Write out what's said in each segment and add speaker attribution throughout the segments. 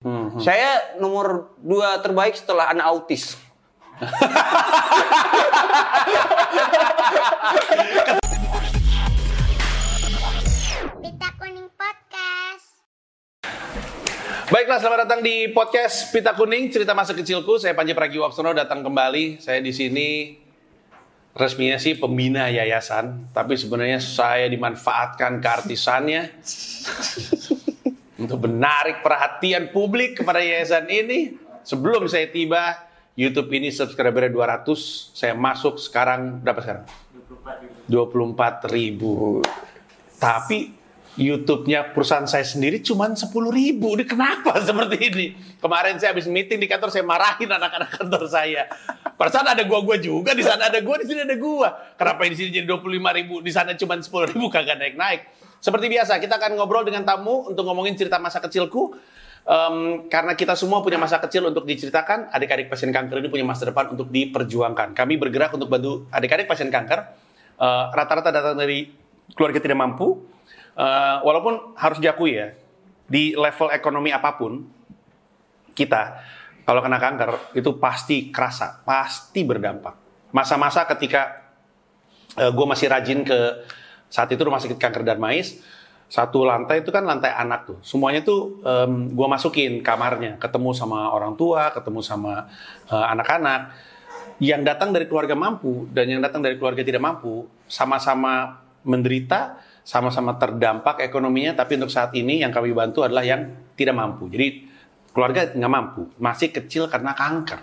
Speaker 1: Hmm. Saya nomor dua terbaik setelah anak autis.
Speaker 2: Pita Kuning Podcast.
Speaker 3: Baiklah, selamat datang di podcast Pita Kuning, cerita masa kecilku. Saya Panji Pragiwaksono datang kembali. Saya di sini resminya sih pembina yayasan, tapi sebenarnya saya dimanfaatkan keartisannya untuk menarik perhatian publik kepada yayasan ini. Sebelum saya tiba, YouTube ini subscribernya 200, saya masuk sekarang berapa sekarang? 24 ribu. Tapi YouTube-nya perusahaan saya sendiri cuma 10 ribu. Ini kenapa seperti ini? Kemarin saya habis meeting di kantor, saya marahin anak-anak kantor saya. Perasaan ada gua-gua juga, di sana ada gua, di sini ada gua. Kenapa di sini jadi 25 ribu, di sana cuma 10 ribu, kagak naik-naik. Seperti biasa, kita akan ngobrol dengan tamu untuk ngomongin cerita masa kecilku. Em, karena kita semua punya masa kecil untuk diceritakan, adik-adik pasien kanker ini punya masa depan untuk diperjuangkan. Kami bergerak untuk bantu adik-adik pasien kanker Eh, rata-rata datang dari keluarga tidak mampu. Eh, walaupun harus diakui ya, di level ekonomi apapun, kita kalau kena kanker itu pasti kerasa, pasti berdampak. Masa-masa ketika gue masih rajin ke saat itu rumah sakit kanker dan mais, satu lantai itu kan lantai anak tuh. Semuanya tuh gue masukin kamarnya, ketemu sama orang tua, ketemu sama eh, anak-anak. yang datang dari keluarga mampu dan yang datang dari keluarga tidak mampu sama-sama menderita, sama-sama terdampak ekonominya. Tapi untuk saat ini yang kami bantu adalah yang tidak mampu. Jadi keluarga nggak mampu, masih kecil karena kanker.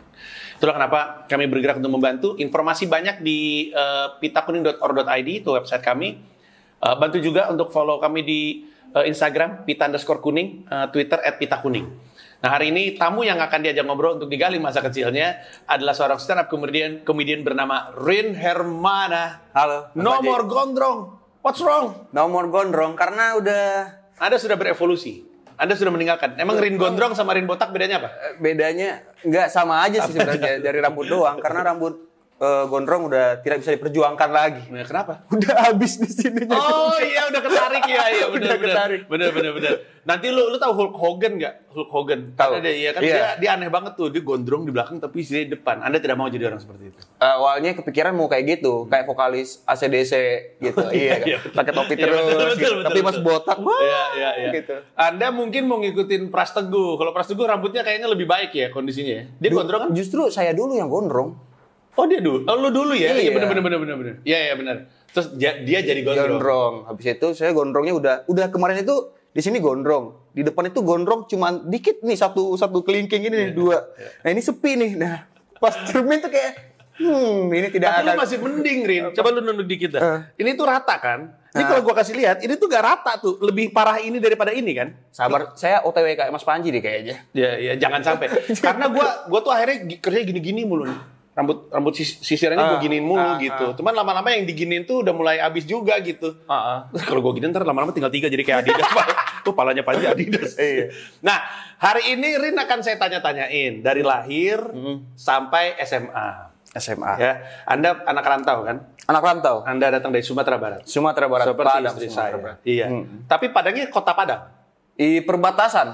Speaker 3: Itulah kenapa kami bergerak untuk membantu. Informasi banyak di eh, pitakuning.or.id itu website kami. Eh, bantu juga untuk follow kami di eh, Instagram pita underscore kuning, eh, Twitter at pita kuning. Nah hari ini tamu yang akan diajak ngobrol untuk digali masa kecilnya adalah seorang stand up comedian, comedian bernama Rin Hermana.
Speaker 1: Halo. Mas
Speaker 3: Nomor
Speaker 1: Panji.
Speaker 3: gondrong. What's wrong?
Speaker 1: nomor gondrong karena udah
Speaker 3: Anda sudah berevolusi. Anda sudah meninggalkan. Emang Rin gondrong sama Rin botak bedanya apa?
Speaker 1: eh, bedanya nggak sama aja sih sebenarnya dari rambut doang karena rambut eh, gondrong udah tidak bisa diperjuangkan lagi.
Speaker 3: Nah, kenapa?
Speaker 1: Udah habis di sini.
Speaker 3: Oh iya udah ketarik ya iya
Speaker 1: Udah
Speaker 3: benar benar.
Speaker 1: ketarik.
Speaker 3: Benar benar benar. Nanti lu lu tahu Hulk Hogan nggak? Hulk Hogan.
Speaker 1: Tahu.
Speaker 3: Ada dia iya kan
Speaker 1: Iya.
Speaker 3: dia dia aneh banget tuh dia gondrong di belakang tapi dia di depan. Anda tidak mau jadi orang seperti itu.
Speaker 1: awalnya kepikiran mau kayak gitu, kayak vokalis ACDC gitu. iya, kan?
Speaker 3: Iya,
Speaker 1: pakai topi
Speaker 3: Iya,
Speaker 1: terus.
Speaker 3: betul,
Speaker 1: gitu.
Speaker 3: betul, betul,
Speaker 1: Tapi pas
Speaker 3: betul.
Speaker 1: botak, wah.
Speaker 3: Iya iya iya.
Speaker 1: Gitu.
Speaker 3: Anda mungkin mau ngikutin Pras Teguh. Kalau Pras Teguh rambutnya kayaknya lebih baik ya kondisinya ya. Dia gondrong kan?
Speaker 1: Justru saya dulu yang gondrong.
Speaker 3: Oh dia dulu. Oh, lu dulu ya.
Speaker 1: Iya.
Speaker 3: Iya benar benar benar benar benar. Iya iya benar. Terus dia, dia jadi gondrong.
Speaker 1: gondrong. Habis itu saya gondrongnya udah udah kemarin itu di sini gondrong, di depan itu gondrong cuman dikit nih satu satu kelingking ini nih,
Speaker 3: Iya,
Speaker 1: dua. Nah ini sepi nih. Nah pas cermin tuh kayak hmm ini tidak
Speaker 3: Tapi
Speaker 1: akan.
Speaker 3: lu masih mending, Rin. Coba lu nunduk dikit dah.
Speaker 1: Eh.
Speaker 3: Ini tuh rata kan? Ini kalau gua kasih lihat, ini tuh gak rata tuh. Lebih parah ini daripada ini kan?
Speaker 1: Sabar, saya OTW kayak Mas Panji deh kayaknya.
Speaker 3: Ya, ya jangan sampai. Karena gua gua tuh akhirnya gi- kerja gini-gini mulu nih. Rambut rambut sis- sisirannya gua
Speaker 1: Ah,
Speaker 3: giniin mulu
Speaker 1: ah,
Speaker 3: gitu. Cuman lama-lama yang diginiin tuh udah mulai abis juga gitu.
Speaker 1: Ah, ah.
Speaker 3: Terus Kalau gua gini ntar lama-lama tinggal tiga jadi kayak Adidas. Pak. Tuh palanya panji Adidas.
Speaker 1: Iya.
Speaker 3: Nah, hari ini Rin akan saya tanya-tanyain. Dari lahir sampai SMA.
Speaker 1: SMA.
Speaker 3: Ya, Anda anak rantau kan?
Speaker 1: Anak rantau.
Speaker 3: Anda datang dari Sumatera Barat.
Speaker 1: Sumatera Barat.
Speaker 3: Seperti
Speaker 1: Padang,
Speaker 3: istri
Speaker 1: Sumatera
Speaker 3: saya.
Speaker 1: Barat. Hmm.
Speaker 3: Iya. Tapi Padangnya kota Padang.
Speaker 1: Di perbatasan.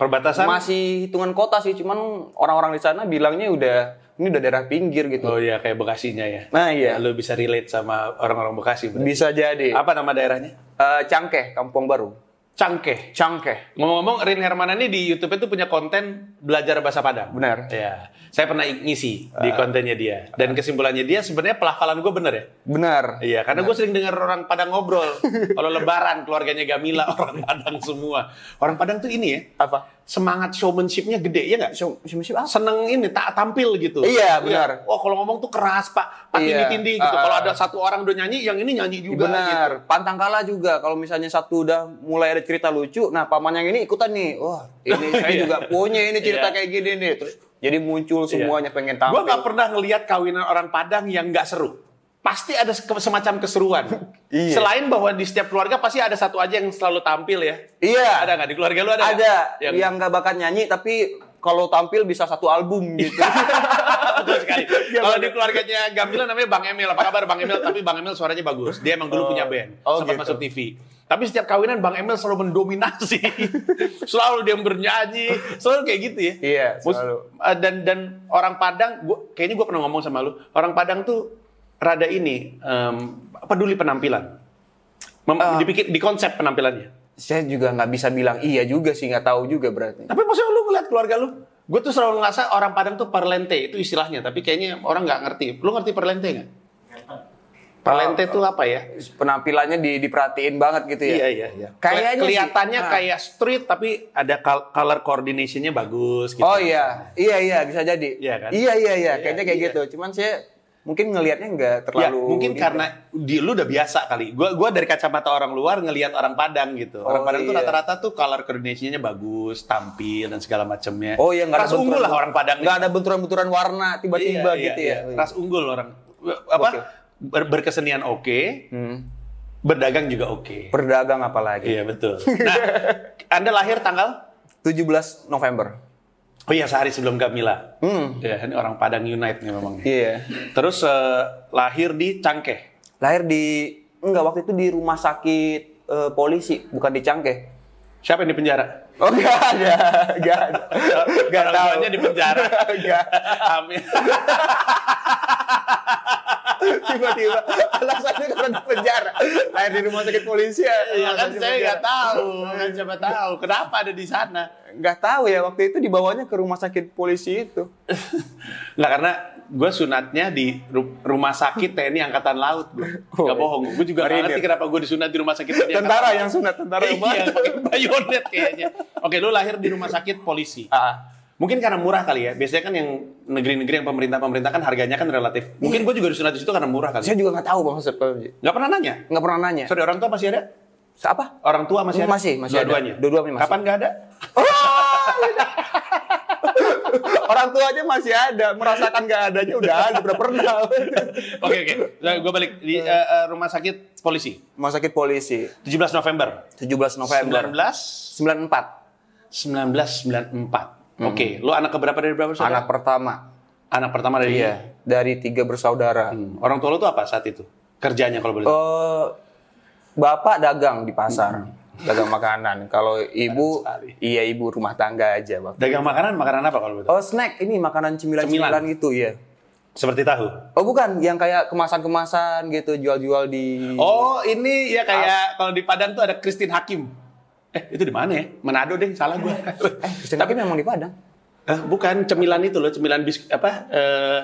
Speaker 3: Perbatasan.
Speaker 1: Masih hitungan kota sih, cuman orang-orang di sana bilangnya udah ini udah daerah pinggir gitu.
Speaker 3: Oh iya kayak Bekasinya ya.
Speaker 1: Nah, iya.
Speaker 3: Lu bisa relate sama orang-orang Bekasi. berarti.
Speaker 1: Bisa jadi.
Speaker 3: Apa nama daerahnya?
Speaker 1: Eh, Cangkeh, Kampung Baru.
Speaker 3: Cangkeh.
Speaker 1: Cangkeh.
Speaker 3: Ngomong-ngomong, Rin Hermana ini di YouTube itu punya konten belajar bahasa Padang.
Speaker 1: Benar. Ah.
Speaker 3: Iya. Saya pernah ngisi di kontennya dia. Dan kesimpulannya dia sebenarnya pelafalan gue bener ya.
Speaker 1: Benar.
Speaker 3: Iya, karena gue sering dengar orang Padang ngobrol. Kalau Lebaran keluarganya Gamila orang Padang semua. Orang Padang tuh ini ya.
Speaker 1: Apa?
Speaker 3: Semangat showmanship-nya gede ya nggak?
Speaker 1: Show, show, show apa?
Speaker 3: seneng ini tak tampil gitu.
Speaker 1: Iya, benar.
Speaker 3: Wah kalau ngomong tuh keras pak, pak
Speaker 1: Iya.
Speaker 3: tindi tindi gitu.
Speaker 1: Ah.
Speaker 3: Kalau ada satu orang udah nyanyi, yang ini nyanyi juga. gitu.
Speaker 1: Benar. gitu. Pantang kalah juga. Kalau misalnya satu udah mulai ada cerita lucu, nah paman yang ini ikutan nih. Wah, ini saya
Speaker 3: Iya.
Speaker 1: juga punya ini cerita
Speaker 3: Iya.
Speaker 1: kayak gini nih. Terus jadi muncul semuanya pengen
Speaker 3: Gitu. Gue
Speaker 1: tampil.
Speaker 3: nggak pernah ngelihat kawinan orang Padang yang nggak seru. Pasti ada se- semacam keseruan.
Speaker 1: Iya.
Speaker 3: Selain bahwa di setiap keluarga pasti ada satu aja yang selalu tampil ya.
Speaker 1: Iya.
Speaker 3: Ada nggak di keluarga lu ada? nggak?
Speaker 1: ada Iya,
Speaker 3: Yang,
Speaker 1: yang nggak bakat nyanyi tapi kalau tampil bisa satu album
Speaker 3: Iya.
Speaker 1: gitu.
Speaker 3: Betul sekali.
Speaker 1: Iya,
Speaker 3: Kalau di keluarganya Gamila namanya Bang Emil. Apa kabar Bang Emil? Tapi Bang Emil suaranya bagus. Dia emang dulu punya band.
Speaker 1: oh
Speaker 3: sempat
Speaker 1: gitu.
Speaker 3: masuk TV. Tapi setiap kawinan Bang Emil selalu mendominasi. selalu dia bernyanyi, selalu kayak gitu ya.
Speaker 1: Iya,
Speaker 3: Mus-
Speaker 1: selalu.
Speaker 3: eh, dan dan orang Padang, gua, kayaknya gue pernah ngomong sama lu, orang Padang tuh rada ini em, peduli penampilan. Mem,
Speaker 1: Ah.
Speaker 3: dipikir di konsep penampilannya.
Speaker 1: Saya juga nggak bisa bilang iya juga sih, nggak tahu juga berarti.
Speaker 3: Tapi maksudnya lu ngeliat keluarga lu, gue tuh selalu ngerasa orang Padang tuh parlente itu istilahnya, tapi kayaknya orang nggak ngerti. Lu ngerti parlente nggak? Parlente itu apa ya?
Speaker 1: Penampilannya di, diperhatiin banget gitu ya.
Speaker 3: Iya iya iya.
Speaker 1: Kayaknya sih.
Speaker 3: kelihatannya
Speaker 1: Ah.
Speaker 3: kayak street tapi ada kal- color coordination-nya bagus gitu.
Speaker 1: Oh iya, iya iya bisa jadi.
Speaker 3: Iya kan?
Speaker 1: Iya iya iya,
Speaker 3: Iya,
Speaker 1: kayaknya kayak
Speaker 3: iya.
Speaker 1: gitu. Cuman saya mungkin ngelihatnya nggak
Speaker 3: Ya,
Speaker 1: terlalu.
Speaker 3: mungkin
Speaker 1: gitu.
Speaker 3: karena di lu udah biasa kali. Gua gua dari kacamata orang luar ngelihat orang Padang gitu. orang
Speaker 1: Oh,
Speaker 3: Padang tuh
Speaker 1: iya.
Speaker 3: rata-rata tuh color coordination-nya bagus, tampil dan segala macamnya.
Speaker 1: Oh iya nggak
Speaker 3: Ras unggul lah orang Padang.
Speaker 1: Nggak ada benturan-benturan warna tiba-tiba
Speaker 3: Iya,
Speaker 1: gitu
Speaker 3: iya,
Speaker 1: ya.
Speaker 3: iya. Ras unggul orang apa
Speaker 1: Oke.
Speaker 3: ber- berkesenian oke,
Speaker 1: Hmm.
Speaker 3: berdagang juga oke.
Speaker 1: Perdagang apalagi.
Speaker 3: Iya betul. Nah, Anda lahir tanggal?
Speaker 1: 17 November.
Speaker 3: Oh iya sehari sebelum Gamila.
Speaker 1: Hmm.
Speaker 3: Ya, ini orang Padang Unite nih memang.
Speaker 1: Iya.
Speaker 3: Terus eh, lahir di Cangkeh.
Speaker 1: Lahir di enggak waktu itu di rumah sakit eh, polisi, bukan di Cangkeh.
Speaker 3: Siapa yang di penjara?
Speaker 1: Oh nggak ada, nggak ada, nggak
Speaker 3: Orang
Speaker 1: tahu.
Speaker 3: tuanya di penjara.
Speaker 1: Nggak.
Speaker 3: Amin.
Speaker 1: Tiba-tiba alasannya karena di penjara. Lahir di rumah sakit polisi ya.
Speaker 3: Ya kan
Speaker 1: alasannya
Speaker 3: saya
Speaker 1: penjara. Iya.
Speaker 3: nggak tahu, kan siapa tahu kenapa ada di sana.
Speaker 1: nggak tahu ya waktu itu dibawanya ke rumah sakit polisi itu.
Speaker 3: Nggak karena gue sunatnya di ru- rumah sakit TNI Angkatan Laut, bro. Gak bohong, gue juga nggak
Speaker 1: Oh, iya. Marinir.
Speaker 3: ngerti kenapa gue disunat di rumah sakit TNI Angkatan
Speaker 1: Tentara
Speaker 3: Laut.
Speaker 1: yang sunat, tentara yang
Speaker 3: Iya,
Speaker 1: banget.
Speaker 3: pakai bayonet kayaknya. Oke, lu lahir di rumah sakit polisi.
Speaker 1: Ah,
Speaker 3: Mungkin karena murah kali ya. Biasanya kan yang negeri-negeri yang pemerintah-pemerintah kan harganya kan relatif. Mungkin gue juga disunat di situ karena murah kali.
Speaker 1: Iya. saya juga nggak tahu bang Ustaz Panji.
Speaker 3: Gak pernah nanya.
Speaker 1: Nggak pernah nanya.
Speaker 3: Sorry, orang tua masih ada?
Speaker 1: Apa?
Speaker 3: Orang tua masih ada?
Speaker 1: Masih, masih ada.
Speaker 3: Dua-duanya?
Speaker 1: Dua-duanya masih.
Speaker 3: Kapan gak ada?
Speaker 1: Oh, iya. Orang tuanya masih ada, merasakan nggak adanya udah ada, udah pernah.
Speaker 3: Oke, oke. Gue balik. Di
Speaker 1: Iya.
Speaker 3: eh, eh, rumah sakit polisi.
Speaker 1: rumah sakit polisi,
Speaker 3: 17 November.
Speaker 1: 17 November
Speaker 3: 19?
Speaker 1: 94.
Speaker 3: 1994. Oke, lu Hmm. anak keberapa dari berapa
Speaker 1: Anak
Speaker 3: saudara?
Speaker 1: pertama.
Speaker 3: Anak pertama dari
Speaker 1: Iya, dari tiga bersaudara.
Speaker 3: Hmm. Orang tua lu tuh apa saat itu? Kerjanya kalau boleh. tahu?
Speaker 1: Eh, bapak dagang di pasar, dagang makanan. Kalau ibu,
Speaker 3: Sekali.
Speaker 1: iya ibu rumah tangga aja, Bang.
Speaker 3: Dagang makanan, makanan apa kalau boleh? tahu?
Speaker 1: Oh snack ini makanan cemilan-cemilan
Speaker 3: Cemilan.
Speaker 1: gitu ya.
Speaker 3: Seperti tahu.
Speaker 1: Oh bukan yang kayak kemasan-kemasan gitu jual-jual di
Speaker 3: Oh, ini ya kayak kalau di Padang tuh ada Christine Hakim. Eh, itu di mana ya? Manado deh, salah gua.
Speaker 1: Eh Kristen Hakim memang di Padang.
Speaker 3: Eh, bukan cemilan itu loh, cemilan bis apa? eh,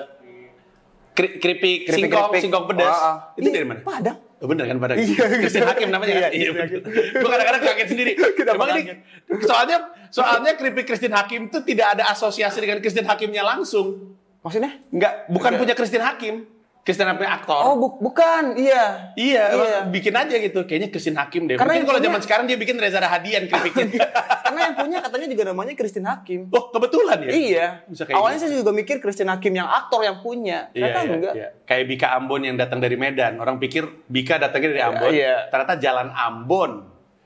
Speaker 3: kri- keripik, singkong,
Speaker 1: Keripik-keripik.
Speaker 3: singkong pedas.
Speaker 1: Oh, oh.
Speaker 3: Itu
Speaker 1: Iya,
Speaker 3: dari mana?
Speaker 1: Padang.
Speaker 3: Oh, bener kan Padang?
Speaker 1: Iya,
Speaker 3: Kristen
Speaker 1: gitu.
Speaker 3: Hakim namanya
Speaker 1: Iya,
Speaker 3: kan? Iya,
Speaker 1: Kristen
Speaker 3: bener. Gua kadang-kadang kaget sendiri.
Speaker 1: Kenapa
Speaker 3: Emang ini soalnya soalnya keripik Kristen Hakim tuh tidak ada asosiasi dengan Kristen Hakimnya langsung.
Speaker 1: Maksudnya?
Speaker 3: Enggak, bukan punya Kristen Hakim. Kristen Hakim aktor.
Speaker 1: Oh bu- bukan, iya.
Speaker 3: Iya, emang
Speaker 1: Iya.
Speaker 3: bikin aja gitu. Kayaknya Christine Hakim deh.
Speaker 1: Karena
Speaker 3: Mungkin kalau
Speaker 1: intinya-
Speaker 3: zaman sekarang dia bikin Reza Rahadian keripiknya.
Speaker 1: Karena yang punya katanya juga namanya Kristen Hakim.
Speaker 3: oh, kebetulan ya?
Speaker 1: Iya.
Speaker 3: Bisa kayak
Speaker 1: Awalnya
Speaker 3: gitu.
Speaker 1: saya juga mikir Kristen Hakim yang aktor yang punya.
Speaker 3: Iya,
Speaker 1: Ternyata
Speaker 3: iya,
Speaker 1: enggak.
Speaker 3: iya. Kayak Bika Ambon yang datang dari Medan. Orang pikir Bika datangnya dari Ambon.
Speaker 1: Iya.
Speaker 3: Ternyata jalan Ambon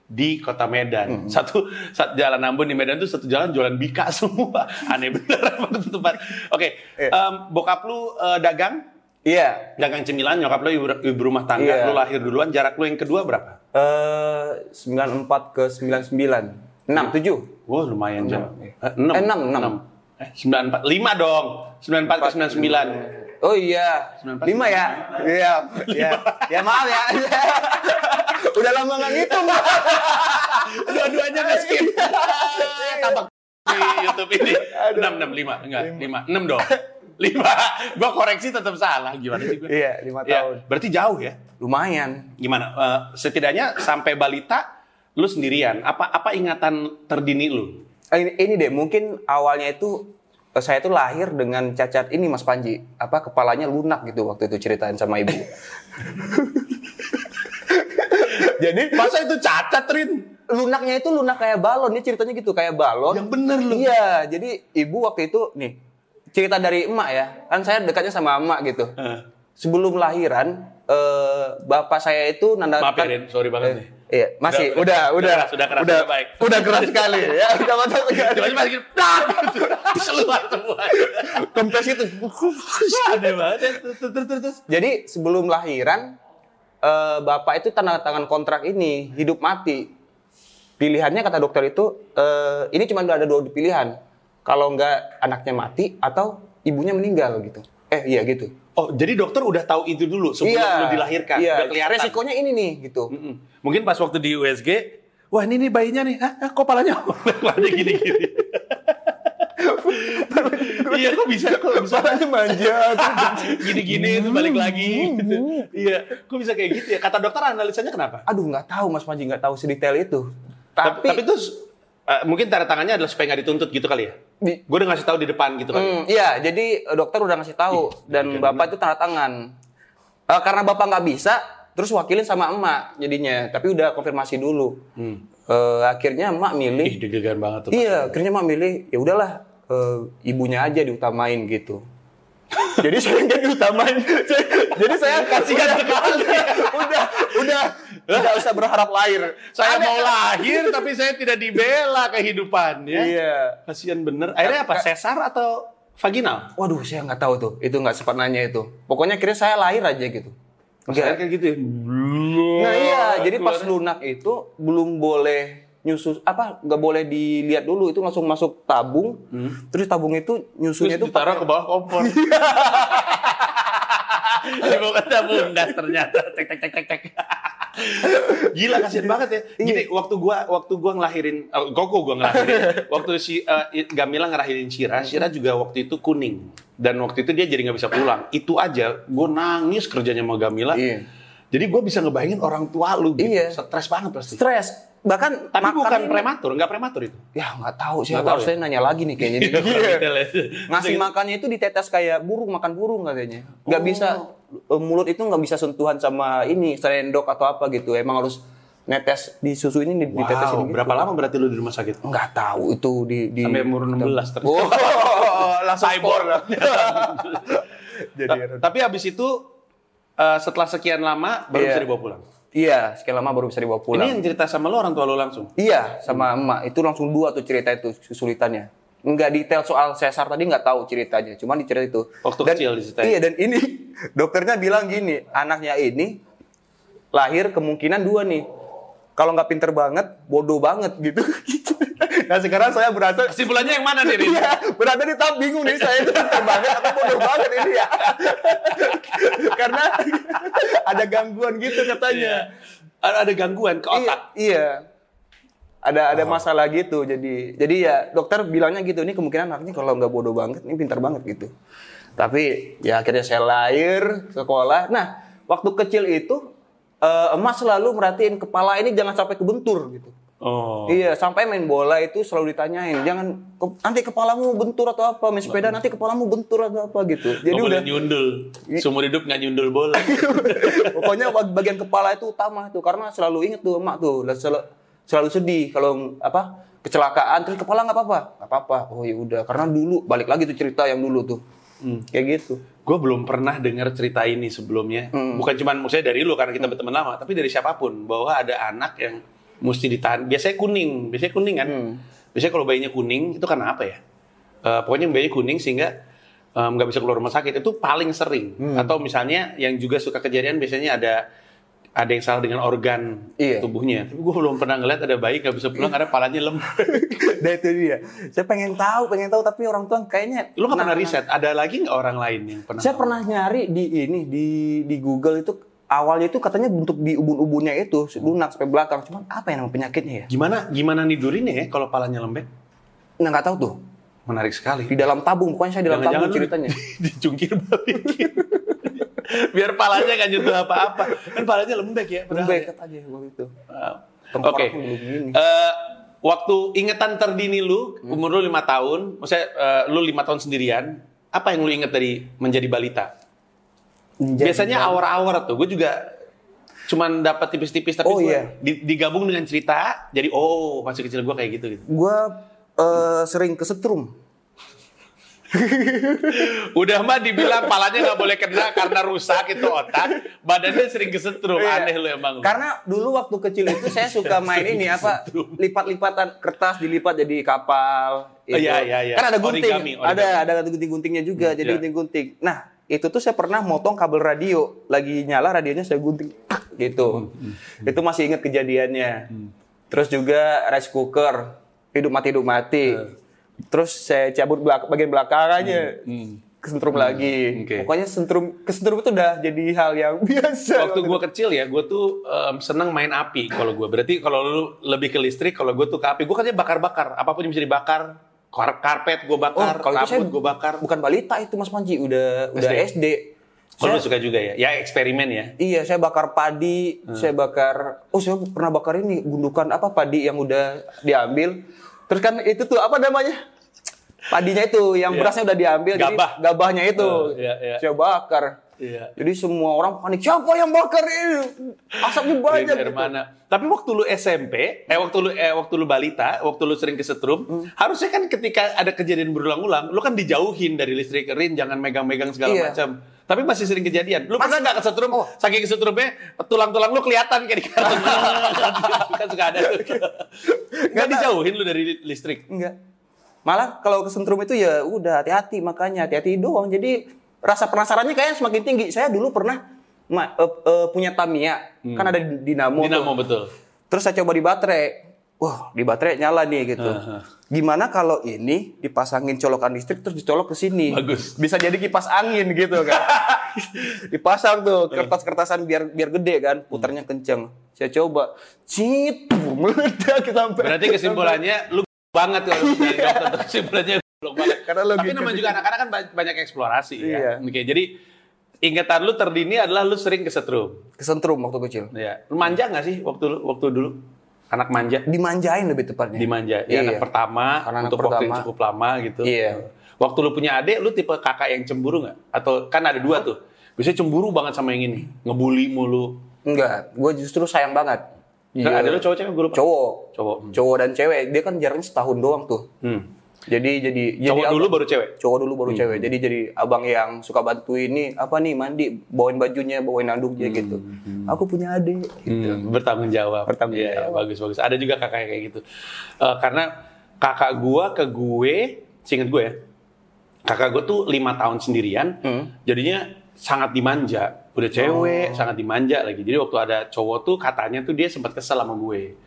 Speaker 3: di kota Medan. Satu, satu jalan Ambon di Medan tuh satu jalan jualan Bika semua. Aneh bener apa tuh tempat. Oke,
Speaker 1: Iya.
Speaker 3: em, bokap lu eh, dagang,
Speaker 1: Iya.
Speaker 3: dagang cemilan, nyokap lu ibu, ibu rumah tangga,
Speaker 1: Iya.
Speaker 3: lu lahir duluan, jarak lu yang kedua berapa?
Speaker 1: Eh 94 ke 99.
Speaker 3: Iya.
Speaker 1: 6 7.
Speaker 3: Wah lumayan jauh.
Speaker 1: iya.
Speaker 3: Eh, Enam.
Speaker 1: Eh, enam, enam.
Speaker 3: Enam. Eh, sembilan empat. Lima dong. Sembilan empat ke sembilan sembilan.
Speaker 1: Oh iya,
Speaker 3: 94.
Speaker 1: lima ya? Iya, iya. Ya maaf ya. Udah lama nggak ngitung.
Speaker 3: Dua-duanya nggak skip. Tampak di YouTube ini. Enam enam lima. Enggak lima. Enam dong. Lima. Gua koreksi tetap salah. Gimana sih gue?
Speaker 1: Iya, lima tahun.
Speaker 3: Berarti jauh ya?
Speaker 1: Lumayan.
Speaker 3: Gimana? Eh, setidaknya sampai balita lu sendirian. Apa apa ingatan terdini lu?
Speaker 1: Eh, Ini, ini deh, mungkin awalnya itu eh, saya tuh lahir dengan cacat ini Mas Panji. Apa kepalanya lunak gitu waktu itu ceritain sama ibu. Jadi
Speaker 3: Masa itu cacat Rin?
Speaker 1: lunaknya itu lunak kayak balon, ini ceritanya gitu kayak balon.
Speaker 3: Yang bener lu.
Speaker 1: Iya, jadi ibu waktu itu nih cerita dari emak ya. Kan saya dekatnya sama emak gitu.
Speaker 3: Eh,
Speaker 1: sebelum lahiran eh, bapak saya itu nanda
Speaker 3: maaf ya Rin, sorry banget nih.
Speaker 1: iya masih udah udah
Speaker 3: keras, udah keras,
Speaker 1: udah
Speaker 3: udah baik.
Speaker 1: udah keras sekali ya udah mantap
Speaker 3: Tiba-tiba pas gitu, dah, gitu. Keluar semua.
Speaker 1: kempes itu
Speaker 3: Aneh banget. ya. Terus, terus, terus, terus.
Speaker 1: jadi sebelum lahiran eh, bapak itu tanda tangan kontrak ini hidup mati. Pilihannya kata dokter itu eh, ini cuma ada dua pilihan. Kalau nggak anaknya mati atau ibunya meninggal gitu. Eh iya gitu.
Speaker 3: Oh, jadi dokter udah tahu itu dulu sebelum
Speaker 1: iya.
Speaker 3: lu dilahirkan,
Speaker 1: Iya.
Speaker 3: udah kelihatan.
Speaker 1: Resikonya ini nih gitu.
Speaker 3: Mm-mm. Mungkin pas waktu di USG, wah ini nih bayinya nih, ah, ah, kok palanya palanya gini-gini. iya, kok bisa, kok bisa
Speaker 1: Soalnya manja.
Speaker 3: gini-gini terus balik lagi. Gitu. Iya, kok bisa kayak gitu ya? Kata dokter analisanya kenapa?
Speaker 1: Aduh nggak tahu Mas Panji nggak tahu sedetail itu.
Speaker 3: Tapi,
Speaker 1: Tapi,
Speaker 3: tapi terus eh, mungkin tanda tangannya adalah supaya nggak dituntut gitu kali ya?
Speaker 1: Di-
Speaker 3: Gue udah ngasih tahu di depan gitu kali.
Speaker 1: Hmm, iya, jadi eh, dokter udah ngasih tahu dan bapak itu tanda tangan. Eh, karena bapak nggak bisa, terus wakilin sama emak jadinya. Tapi udah konfirmasi dulu. Eh, akhirnya emak
Speaker 3: Ih,
Speaker 1: milih.
Speaker 3: deg-degan banget tuh.
Speaker 1: iya, akhirnya emak milih. Ya udahlah, eh, ibunya aja diutamain gitu. jadi saya nggak diutamain. jadi saya
Speaker 3: Kasihan
Speaker 1: udah-
Speaker 3: sekali.
Speaker 1: udah, udah, tidak usah berharap lahir.
Speaker 3: Saya
Speaker 1: Ada-
Speaker 3: mau lahir tapi saya tidak dibela kehidupannya.
Speaker 1: Iya.
Speaker 3: Kasihan bener. Akhirnya apa? Sesar atau vaginal?
Speaker 1: Waduh, saya nggak tahu tuh. Itu nggak sempat nanya itu. Pokoknya akhirnya saya lahir aja gitu.
Speaker 3: Saya
Speaker 1: Nggak-
Speaker 3: kayak gitu ya. Oh,
Speaker 1: Nah iya, jadi pas lunak itu belum boleh nyusu apa nggak boleh dilihat dulu itu langsung masuk tabung. Terus tabung itu nyusunya itu
Speaker 3: Hmm. Terus ditaruh ke bawah kompor. Di bawah kata bundas ternyata tek tek tek tek tek. Gila kasihan banget ya. Gini, waktu gua waktu gua ngelahirin eh, koko gua ngelahirin. waktu si eh, Gamila ngelahirin Syira, Syira juga waktu itu kuning. Dan waktu itu dia jadi nggak bisa pulang. Itu aja gua nangis kerjanya sama Gamila.
Speaker 1: Iya.
Speaker 3: Jadi gua bisa ngebayangin orang tua lu gitu.
Speaker 1: Iya.
Speaker 3: Stres banget pasti.
Speaker 1: stres. Bahkan
Speaker 3: Tapi
Speaker 1: makan
Speaker 3: bukan
Speaker 1: ini-
Speaker 3: prematur, nggak prematur itu.
Speaker 1: Ya nggak tahu sih.
Speaker 3: Nggak tahu ya?
Speaker 1: Harusnya nanya lagi nih kayaknya. Jadi,
Speaker 3: Kurang detail ya.
Speaker 1: ngasih makannya itu ditetes kayak burung makan burung katanya. Nggak
Speaker 3: Oh.
Speaker 1: bisa eh, mulut itu nggak bisa sentuhan sama ini sendok atau apa gitu. Emang harus netes di susu ini Oh, di- ditetesin
Speaker 3: Wow,
Speaker 1: gitu.
Speaker 3: berapa lama berarti lu di rumah sakit?
Speaker 1: Nggak tahu itu di, di
Speaker 3: Sampai umur 16 terus.
Speaker 1: Oh, langsung
Speaker 3: Cyborg.
Speaker 1: Jadi
Speaker 3: Ta- Tapi habis itu eh, setelah sekian lama baru
Speaker 1: Iya.
Speaker 3: bisa dibawa pulang.
Speaker 1: Iya, sekian lama baru bisa dibawa
Speaker 3: Ini
Speaker 1: pulang.
Speaker 3: yang cerita sama lo orang tua lo langsung.
Speaker 1: Iya, sama emak. Itu langsung dua tuh cerita itu kesulitannya. Enggak detail soal Cesar tadi nggak tahu ceritanya, cuman di cerita itu.
Speaker 3: Waktu
Speaker 1: Dan-
Speaker 3: kecil diceritain.
Speaker 1: Iya, dan ini dokternya bilang gini, anaknya ini lahir kemungkinan dua nih. Kalau nggak pinter banget, bodoh banget gitu. nah sekarang saya berasa
Speaker 3: Kesimpulannya yang mana nih? Rin?
Speaker 1: Iya, berarti nih tahap bingung nih saya itu pinter banget atau bodoh banget ini ya. Karena ada gangguan gitu katanya.
Speaker 3: Iya. Ada ada gangguan ke
Speaker 1: Iya,
Speaker 3: otak. Oh.
Speaker 1: Iya. Ada ada masalah gitu. Jadi jadi ya dokter bilangnya gitu. Ini kemungkinan anaknya kalau nggak bodoh banget, ini pintar banget gitu. Tapi ya akhirnya saya lahir sekolah. Nah waktu kecil itu eh, emas selalu merhatiin kepala ini jangan sampai kebentur gitu.
Speaker 3: Oh.
Speaker 1: Iya, sampai main bola itu selalu ditanyain, jangan ke- nanti kepalamu bentur atau apa, main sepeda nanti kepalamu bentur atau apa gitu. Jadi udah
Speaker 3: Nggak
Speaker 1: Iya.
Speaker 3: boleh nyundul. Seumur hidup nggak nyundul bola.
Speaker 1: Pokoknya bag- bagian kepala itu utama tuh karena selalu inget tuh emak tuh lah sel- selalu sedih kalau apa kecelakaan terus kepala nggak apa-apa nggak apa-apa oh ya udah karena dulu balik lagi tuh cerita yang dulu tuh
Speaker 3: Hmm.
Speaker 1: kayak gitu
Speaker 3: Gue belum pernah dengar cerita ini sebelumnya.
Speaker 1: Hmm.
Speaker 3: Bukan cuman maksudnya dari lu karena kita berteman lama, tapi dari siapapun bahwa ada anak yang mesti ditahan. Biasanya kuning, biasanya kuning kan.
Speaker 1: Hmm.
Speaker 3: Biasanya kalau bayinya kuning itu karena apa ya? Eh, pokoknya bayinya kuning sehingga em, nggak bisa keluar rumah sakit itu paling sering.
Speaker 1: Hmm.
Speaker 3: Atau misalnya yang juga suka kejadian biasanya ada ada yang salah dengan organ
Speaker 1: Iya.
Speaker 3: tubuhnya. Tapi gue belum pernah ngeliat ada bayi nggak bisa pulang karena palanya lembek.
Speaker 1: nah itu dia saya pengen tahu pengen tahu tapi orang tua kayaknya
Speaker 3: lu nggak
Speaker 1: Nah,
Speaker 3: pernah riset? Ada lagi nggak orang lain yang pernah?
Speaker 1: saya pernah nyari di ini di di Google itu awalnya itu katanya bentuk di ubun-ubunnya itu
Speaker 3: Hmm.
Speaker 1: lunak sampai belakang cuman apa yang nama penyakitnya ya
Speaker 3: Gimana gimana nidurinnya ya kalau palanya lembek?
Speaker 1: nah nggak tahu tuh
Speaker 3: Menarik sekali.
Speaker 1: di dalam tabung pokoknya saya di dalam
Speaker 3: Jangan-jangan
Speaker 1: tabung
Speaker 3: lu
Speaker 1: ceritanya
Speaker 3: dicungkir balikin. Biar palanya gak nyentuh apa-apa. Kan palanya lembek ya. padahal
Speaker 1: lembek
Speaker 3: ya.
Speaker 1: katanya waktu itu
Speaker 3: Wow.
Speaker 1: Tengkorak
Speaker 3: Oke.
Speaker 1: belum gini. Hmm.
Speaker 3: Eh, waktu ingetan terdini lu, umur lu 5 tahun, maksudnya eh, lu 5 tahun sendirian, apa yang lu inget dari menjadi balita? Biasanya awar-awar tuh, gue juga cuman dapat tipis-tipis tapi
Speaker 1: Oh,
Speaker 3: gua
Speaker 1: iya.
Speaker 3: di- digabung dengan cerita jadi oh masih kecil gue kayak gitu gitu
Speaker 1: gue eh, sering kesetrum.
Speaker 3: Udah mah dibilang palanya nggak boleh kena karena rusak itu otak, badannya sering kesetrum,
Speaker 1: Iya.
Speaker 3: aneh lu emang. lu.
Speaker 1: Karena dulu waktu kecil itu saya suka main ini apa lipat-lipatan kertas dilipat jadi kapal.
Speaker 3: Oh,
Speaker 1: itu.
Speaker 3: iya, iya, iya.
Speaker 1: Kan ada gunting,
Speaker 3: Origami, origami.
Speaker 1: ada ada gunting-guntingnya juga jadi
Speaker 3: iya.
Speaker 1: gunting-gunting. Nah itu tuh saya pernah motong kabel radio lagi nyala radionya saya gunting. Tak,
Speaker 3: Hmm,
Speaker 1: gitu. Itu masih ingat kejadiannya. Terus juga rice cooker hidup mati hidup mati.
Speaker 3: Hmm.
Speaker 1: Terus saya cabut belak bagian belakangnya. Kesentrum lagi.
Speaker 3: hmm. Oke.
Speaker 1: Pokoknya sentrum kesentrum itu udah jadi hal yang biasa.
Speaker 3: Waktu gue kecil ya, gue tuh em, seneng main api kalau gue. Berarti kalau lu lebih ke listrik, kalau gue tuh ke api. Gue kerja bakar-bakar, apapun yang bisa dibakar. Kar- Karpet gue
Speaker 1: Oh,
Speaker 3: bakar,
Speaker 1: kalau itu saya
Speaker 3: rambut gue bakar.
Speaker 1: Bukan balita itu Mas Panji, udah udah
Speaker 3: SD. ya?
Speaker 1: SD. Saya-
Speaker 3: Kalau lu suka juga ya? Ya eksperimen ya.
Speaker 1: Iya, saya bakar padi,
Speaker 3: Ah.
Speaker 1: saya bakar. Oh, saya pernah bakar ini gundukan apa padi yang udah diambil. Terus kan itu tuh apa namanya? Padinya itu yang berasnya udah diambil,
Speaker 3: Iya. Gabah.
Speaker 1: jadi gabahnya itu
Speaker 3: Eh, iya, iya.
Speaker 1: saya bakar.
Speaker 3: Iya.
Speaker 1: Jadi semua orang panik, siapa yang bakar ini? Asapnya banyak.
Speaker 3: Primer
Speaker 1: gitu.
Speaker 3: mana. Tapi waktu lu SMP, eh waktu lu eh waktu lu balita, waktu lu sering kesetrum,
Speaker 1: Hmm.
Speaker 3: harusnya kan ketika ada kejadian berulang-ulang, lu kan dijauhin dari listrik rin, jangan megang-megang segala
Speaker 1: Iya.
Speaker 3: macam. Tapi masih sering kejadian. Lu pernah nggak kesetrum?
Speaker 1: Oh.
Speaker 3: Saking kesetrumnya tulang-tulang lu kelihatan kayak di kartun. kan suka ada tuh. Nggak dijauhin lu dari listrik.
Speaker 1: Enggak. Malah kalau kesentrum itu ya udah hati-hati makanya hati-hati doang. Jadi rasa penasarannya kayaknya semakin tinggi. Saya dulu pernah ma- eh, eh, punya Tamiya, kan ada di- dinamo. tuh.
Speaker 3: Hmm. Dinamo betul.
Speaker 1: Terus saya coba di baterai. Wah, di baterai nyala nih gitu.
Speaker 3: Aha.
Speaker 1: Gimana kalau ini dipasangin colokan listrik terus dicolok ke sini?
Speaker 3: Bagus.
Speaker 1: Bisa jadi kipas angin gitu kan. Dipasang tuh kertas-kertasan biar biar gede kan,
Speaker 3: Hmm.
Speaker 1: putarnya kenceng. Saya coba, cit, meledak sampai.
Speaker 3: Berarti kesimpulannya lu banget kalau lu jadi dokter Terus kesimpulannya goblok banget.
Speaker 1: Iya. Karena logika
Speaker 3: Tapi namanya juga anak-anak kan ba- banyak eksplorasi
Speaker 1: Iya.
Speaker 3: ya. Oke, jadi ingatan lu terdini adalah lu sering kesetrum.
Speaker 1: kesentrum waktu kecil.
Speaker 3: Ya. Lu manja nggak sih waktu lu- waktu dulu? Anak manja,
Speaker 1: Dimanjain lebih tepatnya. Iya.
Speaker 3: dimanja. Ya, anak pertama
Speaker 1: Karena anak
Speaker 3: untuk waktu yang
Speaker 1: pertama.
Speaker 3: cukup lama gitu.
Speaker 1: Iya.
Speaker 3: Waktu lu punya adik, lu tipe kakak yang cemburu nggak? Atau kan ada dua tuh. Biasanya cemburu banget sama yang ini, ngebully mulu.
Speaker 1: Enggak, gue justru sayang banget. Iya.
Speaker 3: Kan ada lu cowok cewek gue lupa.
Speaker 1: cowok.
Speaker 3: Cowok. Hmm.
Speaker 1: Cowok dan cewek, dia kan jaraknya setahun doang tuh.
Speaker 3: Hmm.
Speaker 1: Jadi jadi
Speaker 3: Cowok
Speaker 1: jadi
Speaker 3: dulu
Speaker 1: abang-
Speaker 3: baru Hmm. cewek.
Speaker 1: cowok dulu baru cewek. Jadi jadi abang yang suka bantuin nih apa nih mandi, bawain bajunya, bawain anduknya gitu. Aku punya adik.
Speaker 3: Hmm, bertanggung jawab.
Speaker 1: Gitu. Bertanggung
Speaker 3: Iya, iya,
Speaker 1: jawab.
Speaker 3: bagus bagus. Ada juga kakak yang kayak gitu. Eh, karena kakak gua ke gue, singkat gue ya. Kakak gue tuh lima tahun sendirian,
Speaker 1: Hmm.
Speaker 3: jadinya sangat dimanja. Udah
Speaker 1: Oh.
Speaker 3: cewek, sangat dimanja lagi. Jadi waktu ada cowok tuh katanya tuh dia sempat kesel sama gue.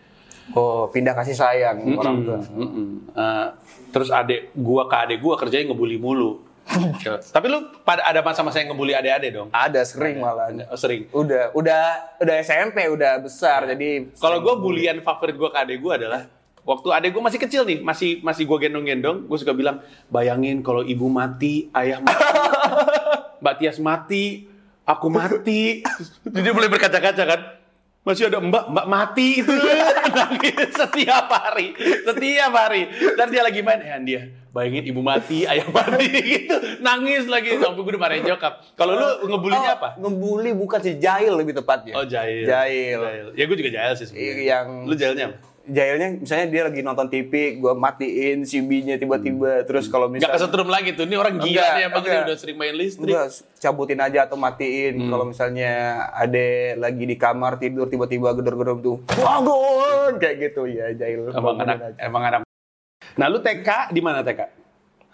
Speaker 1: Oh, pindah kasih sayang Hmm.
Speaker 3: Hmm.
Speaker 1: orang tua.
Speaker 3: Mm-mm. Eh, terus adek gua ke adek gua kerjanya ngebully mulu. Tapi lu pada ada masa-masa yang ngebully adek-adek dong?
Speaker 1: Ada sering malah.
Speaker 3: Oh, Sering.
Speaker 1: Udah, udah, udah SMP, udah besar. Jadi
Speaker 3: Iya.
Speaker 1: Oh,
Speaker 3: Kalau gue bulian favorit gue ke adek gue adalah waktu adek gue masih kecil nih, masih masih gue gendong-gendong, gue suka bilang, bayangin kalau ibu mati, ayah mati, Mbak Tias mati, aku mati. Jadi dia boleh berkaca-kaca kan. Masih ada mbak, mbak mati itu nangis setiap hari, setiap hari. Dan dia lagi main, eh dia bayangin ibu mati, ayah mati gitu, nangis lagi Ya sampai gue dimarahin jokap. Kalau lu ngebulinya
Speaker 1: Oh,
Speaker 3: apa?
Speaker 1: Ngebully bukan sih jahil lebih tepatnya.
Speaker 3: Oh jahil.
Speaker 1: Jahil.
Speaker 3: Ya gue juga jahil sih sebenarnya.
Speaker 1: Iya, yang-
Speaker 3: Lu jahilnya apa?
Speaker 1: Jahilnya misalnya dia lagi nonton TV, gua matiin CB-nya tiba-tiba. Terus kalau
Speaker 3: Gak
Speaker 1: misalnya
Speaker 3: Hmm. kesetrum lagi tuh. Ini orang gila
Speaker 1: Enggak,
Speaker 3: nih emang dia
Speaker 1: enggak.
Speaker 3: udah sering main listrik.
Speaker 1: Enggak, cabutin aja atau matiin.
Speaker 3: Hmm.
Speaker 1: Kalau misalnya ade lagi di kamar tidur tiba-tiba gedor-gedor tuh. Bangun kayak gitu ya jahil.
Speaker 3: Emang
Speaker 1: Bangunin
Speaker 3: anak,
Speaker 1: aja.
Speaker 3: emang anak. Nah lu TK di mana TK?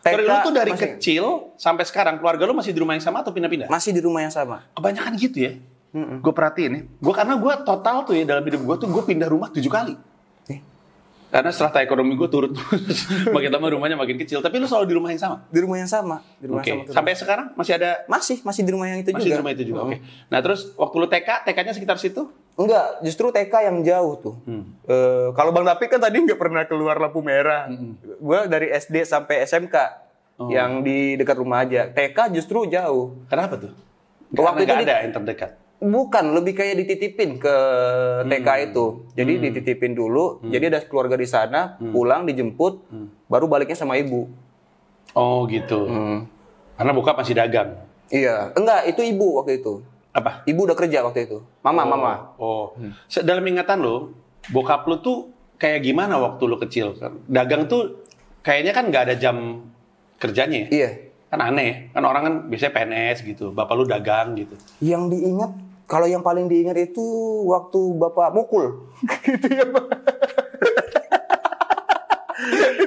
Speaker 1: TK
Speaker 3: Sorry, lu tuh dari
Speaker 1: masih-
Speaker 3: kecil sampai sekarang keluarga lu masih di rumah yang sama atau pindah-pindah?
Speaker 1: Masih di rumah yang sama.
Speaker 3: Kebanyakan gitu ya. Gue perhatiin ya. Gue karena gue total tuh ya dalam hidup gue tuh gue pindah rumah tujuh kali.
Speaker 1: Eh.
Speaker 3: Karena strata ekonomi gue turun terus. makin lama rumahnya makin kecil. Tapi lu selalu di rumah yang sama.
Speaker 1: Di rumah yang sama. Di rumah
Speaker 3: Oke.
Speaker 1: yang sama. terus.
Speaker 3: Sampai sekarang masih ada
Speaker 1: Masih, masih di rumah yang itu
Speaker 3: masih
Speaker 1: juga.
Speaker 3: di rumah itu juga. Oke. Nah terus waktu lu TK, TK-nya sekitar situ?
Speaker 1: Enggak, justru TK yang jauh tuh. Eh, kalau Bang Dapi kan tadi nggak pernah keluar lampu merah. Gua dari SD sampai SMK yang di dekat rumah aja. TK justru jauh.
Speaker 3: Kenapa tuh?
Speaker 1: Waktu itu
Speaker 3: Karena nggak
Speaker 1: di-
Speaker 3: ada yang terdekat.
Speaker 1: Bukan, lebih kayak dititipin ke TK itu. Jadi dititipin dulu. Jadi ada keluarga di sana, pulang dijemput, baru baliknya sama ibu.
Speaker 3: Oh gitu.
Speaker 1: Hmm.
Speaker 3: Karena bokap masih dagang.
Speaker 1: Iya, enggak itu ibu waktu itu.
Speaker 3: Apa?
Speaker 1: Ibu udah kerja waktu itu. Mama, mama.
Speaker 3: Oh. Se- Dalam ingatan lo, bokap lo tuh kayak gimana waktu lo kecil? Dagang tuh kayaknya kan nggak ada jam kerjanya. ya?
Speaker 1: Iya.
Speaker 3: Kan aneh. ya? Kan orang kan biasanya PNS gitu. Bapak lo dagang gitu.
Speaker 1: Yang diingat, kalau yang paling diingat itu waktu bapak mukul. gitu ya, Pak.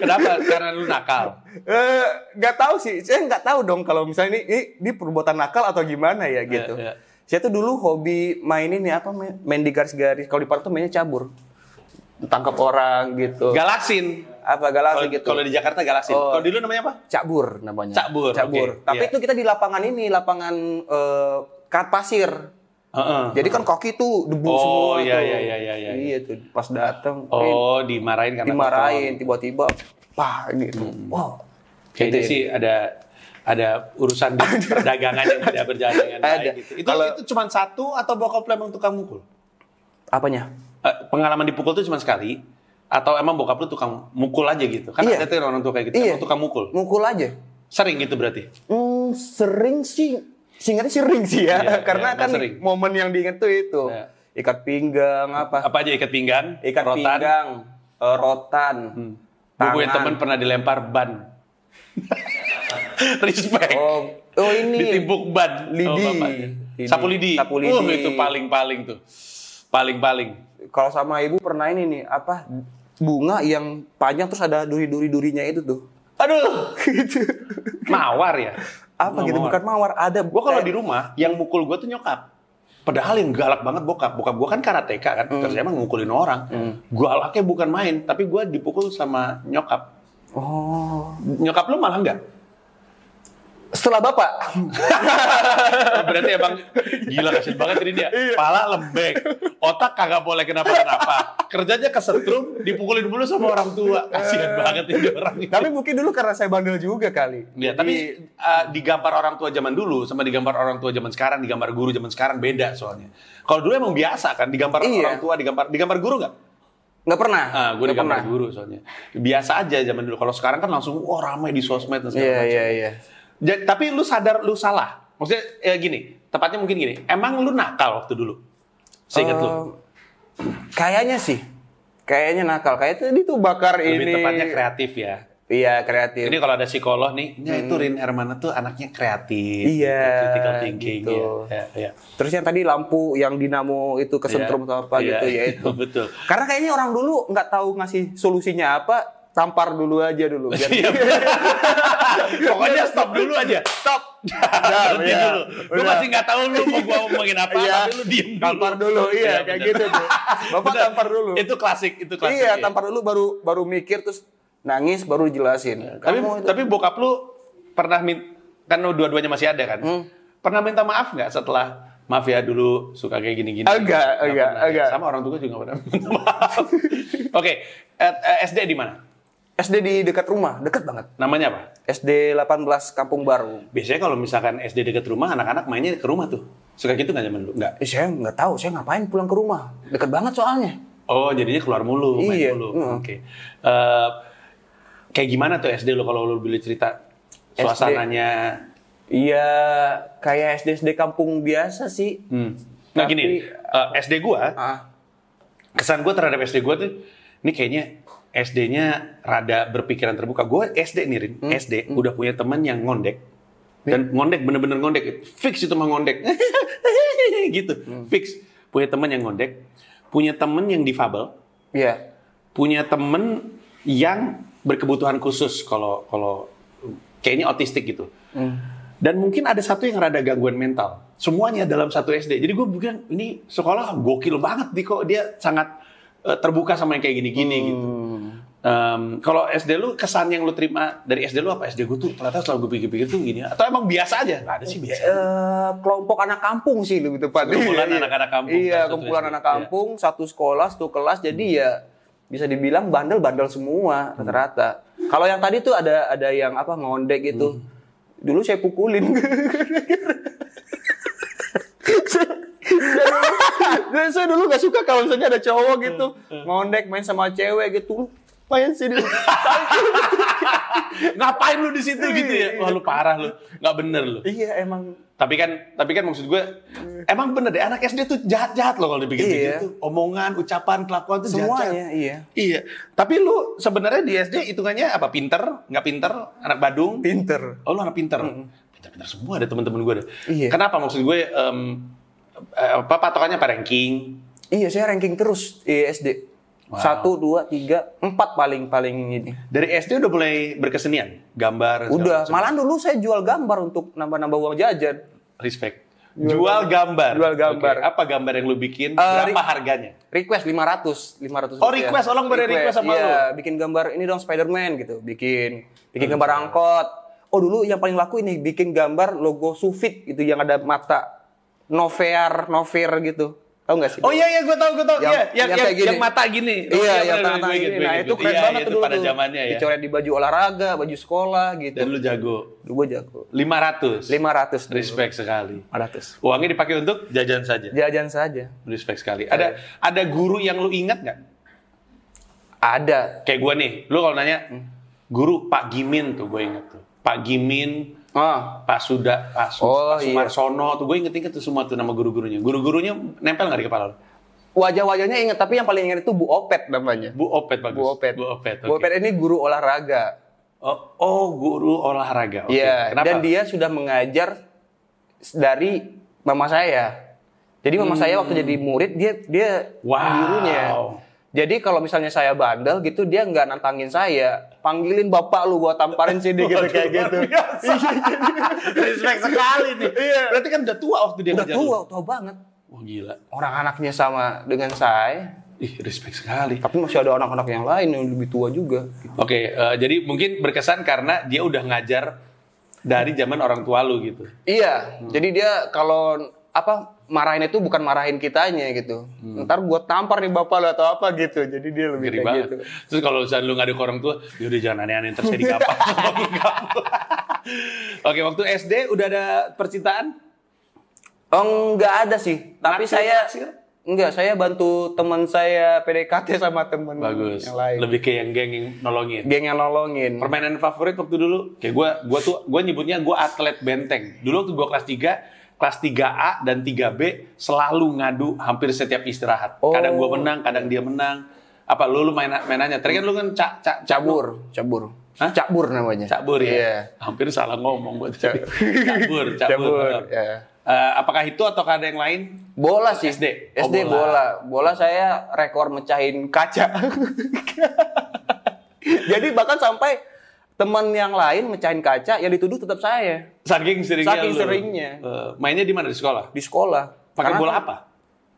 Speaker 3: Kenapa? Karena lu nakal.
Speaker 1: Eh, nggak tahu sih, saya nggak tahu dong kalau misalnya ini, ini, ini perbuatan nakal atau gimana ya gitu.
Speaker 3: Iya, iya.
Speaker 1: Saya tuh dulu hobi main ini apa main, main di garis-garis. Kalau di park tuh mainnya cabur. Tangkap orang gitu.
Speaker 3: Galaksin.
Speaker 1: apa galasi
Speaker 3: Kalau-
Speaker 1: gitu.
Speaker 3: Kalau di Jakarta galaksin.
Speaker 1: Oh.
Speaker 3: Kalau dulu namanya apa?
Speaker 1: Cabur namanya.
Speaker 3: Cabur,
Speaker 1: Cabur.
Speaker 3: oke.
Speaker 1: Tapi
Speaker 3: Iya.
Speaker 1: itu kita di lapangan ini, lapangan eh, kat pasir.
Speaker 3: Heeh.
Speaker 1: Jadi kan koki tuh debu
Speaker 3: Oh,
Speaker 1: semua
Speaker 3: iya,
Speaker 1: tuh.
Speaker 3: iya, iya, iya, iya.
Speaker 1: Iya tuh pas datang
Speaker 3: Oh, dimarahin karena
Speaker 1: dimarahin tiba-tiba pah gitu. Wow.
Speaker 3: kotor. Kayaknya sih ada ada urusan di perdagangan yang tidak berjalan dengan
Speaker 1: Ada.
Speaker 3: baik gitu. Itu
Speaker 1: Kalau-
Speaker 3: itu cuma satu atau bokap lu emang tukang mukul?
Speaker 1: Apanya?
Speaker 3: Eh, pengalaman dipukul tuh cuma sekali atau emang bokap lu tukang mukul aja gitu? Kan
Speaker 1: Iya.
Speaker 3: ada tuh orang tua kayak gitu,
Speaker 1: Iya.
Speaker 3: emang tukang mukul.
Speaker 1: Mukul aja.
Speaker 3: Sering gitu berarti.
Speaker 1: Hmm, sering sih, singkatnya sering sih ya,
Speaker 3: Iya,
Speaker 1: karena
Speaker 3: iya,
Speaker 1: kan
Speaker 3: sering.
Speaker 1: momen yang diinget tuh itu
Speaker 3: Iya.
Speaker 1: ikat pinggang apa,
Speaker 3: Apa aja ikat pinggang,
Speaker 1: ikat
Speaker 3: rotan. Hmm.
Speaker 1: pinggang, eh, rotan,
Speaker 3: Gue punya
Speaker 1: tangan.
Speaker 3: teman pernah dilempar ban. Respect.
Speaker 1: Oh, oh ini
Speaker 3: Ditimbuk ban.
Speaker 1: Lidi.
Speaker 3: sama bapaknya.
Speaker 1: Lidi.
Speaker 3: Sapu lidi.
Speaker 1: Sapu
Speaker 3: Uh,
Speaker 1: lidi.
Speaker 3: itu paling-paling tuh. Paling-paling.
Speaker 1: Kalau sama ibu pernah ini nih apa bunga yang panjang terus ada duri-duri durinya itu tuh.
Speaker 3: Aduh.
Speaker 1: Gitu.
Speaker 3: Mawar ya.
Speaker 1: apa gitu bukan mawar Eh. ada.
Speaker 3: Gue kalau di rumah, yang mukul gue tuh nyokap. Padahal yang galak banget bokap. Bokap gue kan karateka kan.
Speaker 1: Hmm.
Speaker 3: Kerjanya emang ngukulin orang. Galaknya bukan main. Tapi gue dipukul sama nyokap.
Speaker 1: Oh.
Speaker 3: Nyokap lu malah enggak?
Speaker 1: Setelah bapak.
Speaker 3: Oh, berarti emang gila kasihan banget ini dia.
Speaker 1: Iya.
Speaker 3: Pala lembek, otak kagak boleh kenapa-kenapa. Kerjanya kesetrum, dipukulin dulu sama orang tua. Kasihan banget ini orang. ini.
Speaker 1: Eh. tapi mungkin dulu karena saya bandel juga kali.
Speaker 3: Ya, tapi eh, digambar orang tua zaman dulu sama digambar orang tua zaman sekarang, digambar guru zaman sekarang beda soalnya. Kalau dulu emang biasa kan digambar
Speaker 1: Iya.
Speaker 3: orang tua, digambar digambar guru nggak?
Speaker 1: nggak pernah.
Speaker 3: Ah, gue
Speaker 1: Nggak
Speaker 3: digambar guru soalnya. Biasa aja zaman dulu. Kalau sekarang kan langsung wah ramai di sosmed dan segala
Speaker 1: Iya
Speaker 3: macam.
Speaker 1: iya iya.
Speaker 3: Ja- tapi lu sadar lu salah. Maksudnya ya gini, tepatnya mungkin gini. Emang lu nakal waktu dulu? Seingat lu.
Speaker 1: Eh, Kayaknya sih. Kayaknya nakal. Kayaknya tadi tuh bakar Eh,
Speaker 3: Lebih
Speaker 1: ini.
Speaker 3: tepatnya kreatif ya.
Speaker 1: Iya, kreatif.
Speaker 3: Ini kalau ada psikolog nih, ya itu Rin Hermana tuh anaknya kreatif,
Speaker 1: Iya,
Speaker 3: gitu, critical thinking
Speaker 1: gitu.
Speaker 3: ya. Ya, ya.
Speaker 1: Terus yang tadi lampu yang dinamo itu kesentrum
Speaker 3: Iya,
Speaker 1: atau apa
Speaker 3: iya,
Speaker 1: gitu ya itu.
Speaker 3: Betul.
Speaker 1: Karena kayaknya orang dulu nggak tahu ngasih solusinya apa, tampar dulu aja dulu. Biar
Speaker 3: Iya. Pokoknya stop dulu aja. Stop. Berhenti
Speaker 1: iya.
Speaker 3: dulu. Lu
Speaker 1: Udah.
Speaker 3: masih nggak tahu lu mau gua ngomongin apa,
Speaker 1: Iya.
Speaker 3: tapi lu diem dulu.
Speaker 1: tampar dulu, iya kayak
Speaker 3: bener.
Speaker 1: gitu tuh. Bapak
Speaker 3: Bener.
Speaker 1: tampar dulu.
Speaker 3: Itu klasik, itu klasik.
Speaker 1: iya,
Speaker 3: ya.
Speaker 1: tampar dulu baru baru mikir terus nangis baru jelasin.
Speaker 3: Tapi
Speaker 1: Kamu itu-
Speaker 3: tapi bokap lu pernah min- kan lu dua-duanya masih ada kan?
Speaker 1: Hmm.
Speaker 3: Pernah minta maaf nggak setelah maaf ya dulu suka kayak gini-gini?
Speaker 1: Agak,
Speaker 3: Nggak
Speaker 1: agak,
Speaker 3: pernah ya?
Speaker 1: agak.
Speaker 3: Sama orang tua juga nggak pernah minta maaf. Oke, eh, eh, SD di mana?
Speaker 1: SD di dekat rumah, dekat banget.
Speaker 3: Namanya apa?
Speaker 1: SD 18 Kampung Baru.
Speaker 3: Biasanya kalau misalkan SD dekat rumah, anak-anak mainnya ke rumah tuh. Suka gitu nggak zaman dulu? Nggak.
Speaker 1: Eh, saya nggak tahu, saya ngapain pulang ke rumah. Dekat banget soalnya.
Speaker 3: Oh, jadinya keluar mulu, main
Speaker 1: Iya,
Speaker 3: mulu.
Speaker 1: heeh.
Speaker 3: Oke. Eh, kayak gimana tuh SD lo kalau lo boleh cerita
Speaker 1: SD.
Speaker 3: suasananya?
Speaker 1: Iya, kayak SD SD kampung biasa sih.
Speaker 3: Hmm. Nah
Speaker 1: Tapi-
Speaker 3: gini, eh, SD gua
Speaker 1: Ah,
Speaker 3: kesan gue terhadap SD gue tuh, ini kayaknya SD-nya rada berpikiran terbuka. Gue SD
Speaker 1: Hmm.
Speaker 3: nih, Rin. SD udah punya teman yang ngondek.
Speaker 1: Iya.
Speaker 3: Dan ngondek bener-bener ngondek. Fix itu mah ngondek. gitu.
Speaker 1: Hmm.
Speaker 3: Fix. Punya teman yang ngondek. Punya teman yang difabel.
Speaker 1: iya.
Speaker 3: Punya teman yang berkebutuhan khusus kalau kalau kayaknya otistik gitu. Dan mungkin ada satu yang rada gangguan mental. Semuanya dalam satu SD. Jadi gue bilang ini sekolah gokil banget nih kok dia sangat eh, terbuka sama yang kayak gini-gini gitu. Em, kalau SD lu kesan yang lu terima dari SD lu apa? SD gue tuh ternyata selalu gue pikir-pikir tuh gini. Atau emang biasa aja? Gak ada sih biasa.
Speaker 1: Eh, kelompok anak kampung sih lebih tepatnya. Iya,
Speaker 3: Kumpulan
Speaker 1: iya.
Speaker 3: anak-anak kampung.
Speaker 1: Iya,
Speaker 3: Satu gitu ya.
Speaker 1: kumpulan
Speaker 3: SD.
Speaker 1: anak kampung, satu sekolah, satu kelas. Jadi
Speaker 3: Hmm.
Speaker 1: ya bisa dibilang bandel-bandel semua rata-rata. Kalau yang tadi tuh ada ada yang apa ngondek gitu.
Speaker 3: Hmm.
Speaker 1: Dulu saya pukulin. Dan saya dulu gak suka kalau misalnya ada cowok gitu
Speaker 3: Hmm.
Speaker 1: ngondek main sama cewek gitu. Main sih dulu.
Speaker 3: Ngapain lu di situ gitu ya? Wah lu parah lu. Gak bener lu.
Speaker 1: iya emang
Speaker 3: Tapi kan, tapi kan maksud gue, emang bener deh anak SD tuh jahat-jahat loh kalau dipikir-pikir
Speaker 1: Iya.
Speaker 3: tuh. Omongan, ucapan, kelakuan tuh jahat-jahat.
Speaker 1: semuanya iya.
Speaker 3: Iya. Tapi lu sebenarnya di SD hitungannya apa? Pinter? Nggak pinter? Anak Badung?
Speaker 1: Pinter.
Speaker 3: Oh lu anak pinter? Pinter-pinter semua ada teman-teman gue ada.
Speaker 1: Iya.
Speaker 3: Kenapa maksud gue, em, eh, apa patokannya apa ranking?
Speaker 1: Iya, saya ranking terus di SD.
Speaker 3: Wow.
Speaker 1: Satu, dua, tiga, empat paling paling ini.
Speaker 3: Dari SD udah mulai berkesenian? Gambar? segala
Speaker 1: Udah,
Speaker 3: macam.
Speaker 1: malahan dulu saya jual gambar untuk nambah-nambah uang jajan.
Speaker 3: Respect. Jual gambar.
Speaker 1: Jual gambar.
Speaker 3: Oke, Apa gambar yang lu
Speaker 1: Eh,
Speaker 3: bikin? Berapa
Speaker 1: ri-
Speaker 3: harganya?
Speaker 1: Request 500, 500
Speaker 3: Oh, request, orang pada request sama
Speaker 1: iya,
Speaker 3: lu?
Speaker 1: bikin gambar ini dong Spider-Man gitu, bikin bikin gambar angkot. Oh, dulu yang paling laku ini bikin gambar logo Sufit gitu yang ada mata Novear, Novear gitu. Tahu nggak sih?
Speaker 3: Oh iya iya gue tau gue tau
Speaker 1: Yang-
Speaker 3: iya yang
Speaker 1: yang
Speaker 3: yang,
Speaker 1: kayak gini.
Speaker 3: yang mata gini.
Speaker 1: Iya,
Speaker 3: Iya,
Speaker 1: yang
Speaker 3: bener,
Speaker 1: tangan
Speaker 3: gue inget,
Speaker 1: ini.
Speaker 3: gue
Speaker 1: Nah,
Speaker 3: inget,
Speaker 1: itu
Speaker 3: gue
Speaker 1: keren
Speaker 3: inget. Iya,
Speaker 1: banget
Speaker 3: iya,
Speaker 1: tuh
Speaker 3: itu
Speaker 1: dulu
Speaker 3: pada
Speaker 1: tuh.
Speaker 3: zamannya ya.
Speaker 1: Dicoret di baju olahraga, baju sekolah gitu.
Speaker 3: Dan lu jago.
Speaker 1: Dulu gue jago.
Speaker 3: 500.
Speaker 1: 500 dulu.
Speaker 3: Respect sekali.
Speaker 1: 500.
Speaker 3: Uangnya dipakai untuk jajan saja.
Speaker 1: Jajan saja.
Speaker 3: Respect sekali.
Speaker 1: Ya.
Speaker 3: Ada ada guru yang lu ingat nggak?
Speaker 1: Ada.
Speaker 3: Kayak gue nih, lu kalau nanya
Speaker 1: Hmm.
Speaker 3: guru Pak Gimin tuh gue inget tuh. Pak Gimin,
Speaker 1: Ah,
Speaker 3: Pak Suda, Pak, Su-
Speaker 1: Oh,
Speaker 3: Pak
Speaker 1: iya.
Speaker 3: Sumarsono tuh gue inget-inget tuh semua tuh nama guru-gurunya. Guru-gurunya nempel nggak di kepala lu?
Speaker 1: wajah-wajahnya ingat, tapi yang paling ingat itu Bu Opet namanya.
Speaker 3: Bu Opet bagus.
Speaker 1: Bu Opet.
Speaker 3: Bu Opet.
Speaker 1: Bu
Speaker 3: oke.
Speaker 1: Opet ini guru olahraga.
Speaker 3: Oh, oh, guru olahraga. Oke.
Speaker 1: Iya,
Speaker 3: Kenapa?
Speaker 1: dan dia sudah mengajar s- dari mama saya. Jadi mama saya waktu jadi murid dia dia
Speaker 3: Wow.
Speaker 1: gurunya. Jadi kalau misalnya saya bandel gitu dia nggak nantangin saya, panggilin bapak lu gua tamparin sini gitu
Speaker 3: Waduh,
Speaker 1: kayak
Speaker 3: luar
Speaker 1: gitu.
Speaker 3: biasa. Respect sekali nih. Berarti kan udah tua waktu dia
Speaker 1: Iya. Udah
Speaker 3: ngejar
Speaker 1: tua,
Speaker 3: lu.
Speaker 1: tua banget.
Speaker 3: Wah, gila.
Speaker 1: Orang anaknya sama dengan saya,
Speaker 3: Ih, respect sekali.
Speaker 1: tapi masih ada anak-anak yang lain yang lebih tua juga.
Speaker 3: Oke, eh, jadi mungkin berkesan karena dia udah ngajar dari zaman orang tua lu gitu.
Speaker 1: Iya, jadi dia kalau apa marahin itu bukan marahin kitanya gitu. Ntar gua tampar nih bapak lu atau apa gitu. Jadi dia lebih kayak
Speaker 3: Hmm. Ngeri banget.
Speaker 1: gitu.
Speaker 3: Terus kalau misalnya lu ngadu ke orang tua, yaudah jangan aneh-aneh, ntar saya digampar sama lu, kamu." Oke, waktu SD udah ada percintaan?
Speaker 1: Hmm, Oh, enggak ada sih. Tapi
Speaker 3: Naksir,
Speaker 1: saya
Speaker 3: naksir?
Speaker 1: enggak, saya bantu teman saya PDKT sama temen
Speaker 3: Bagus.
Speaker 1: yang lain.
Speaker 3: Lebih ke yang geng yang nolongin.
Speaker 1: Geng yang nolongin.
Speaker 3: Permainan favorit waktu dulu, kayak gue, gua tuh, gue nyebutnya gue atlet benteng. Dulu waktu gue kelas 3, kelas 3A dan 3B selalu ngadu hampir setiap istirahat.
Speaker 1: Oh.
Speaker 3: Kadang gue menang, kadang dia menang. Apa lu lu main mainannya? Tadi kan lu kan cak cak
Speaker 1: cabur, cabur.
Speaker 3: Hah?
Speaker 1: Cabur namanya.
Speaker 3: cabur ya.
Speaker 1: Iya.
Speaker 3: Hampir salah ngomong gue tadi. Cabur, cabur.
Speaker 1: Cabur,
Speaker 3: maaf.
Speaker 1: ya.
Speaker 3: Eh, apakah itu atau ada yang lain?
Speaker 1: Bola sih.
Speaker 3: SD? Oh,
Speaker 1: SD bola. bola. saya rekor mecahin kaca. Jadi bahkan sampai teman yang lain mecahin kaca yang dituduh tetap saya
Speaker 3: Saking seringnya.
Speaker 1: Saking
Speaker 3: lu.
Speaker 1: seringnya. kan
Speaker 3: Eh, mainnya di mana di sekolah?
Speaker 1: di sekolah.
Speaker 3: Pakai
Speaker 1: Karena
Speaker 3: bola apa?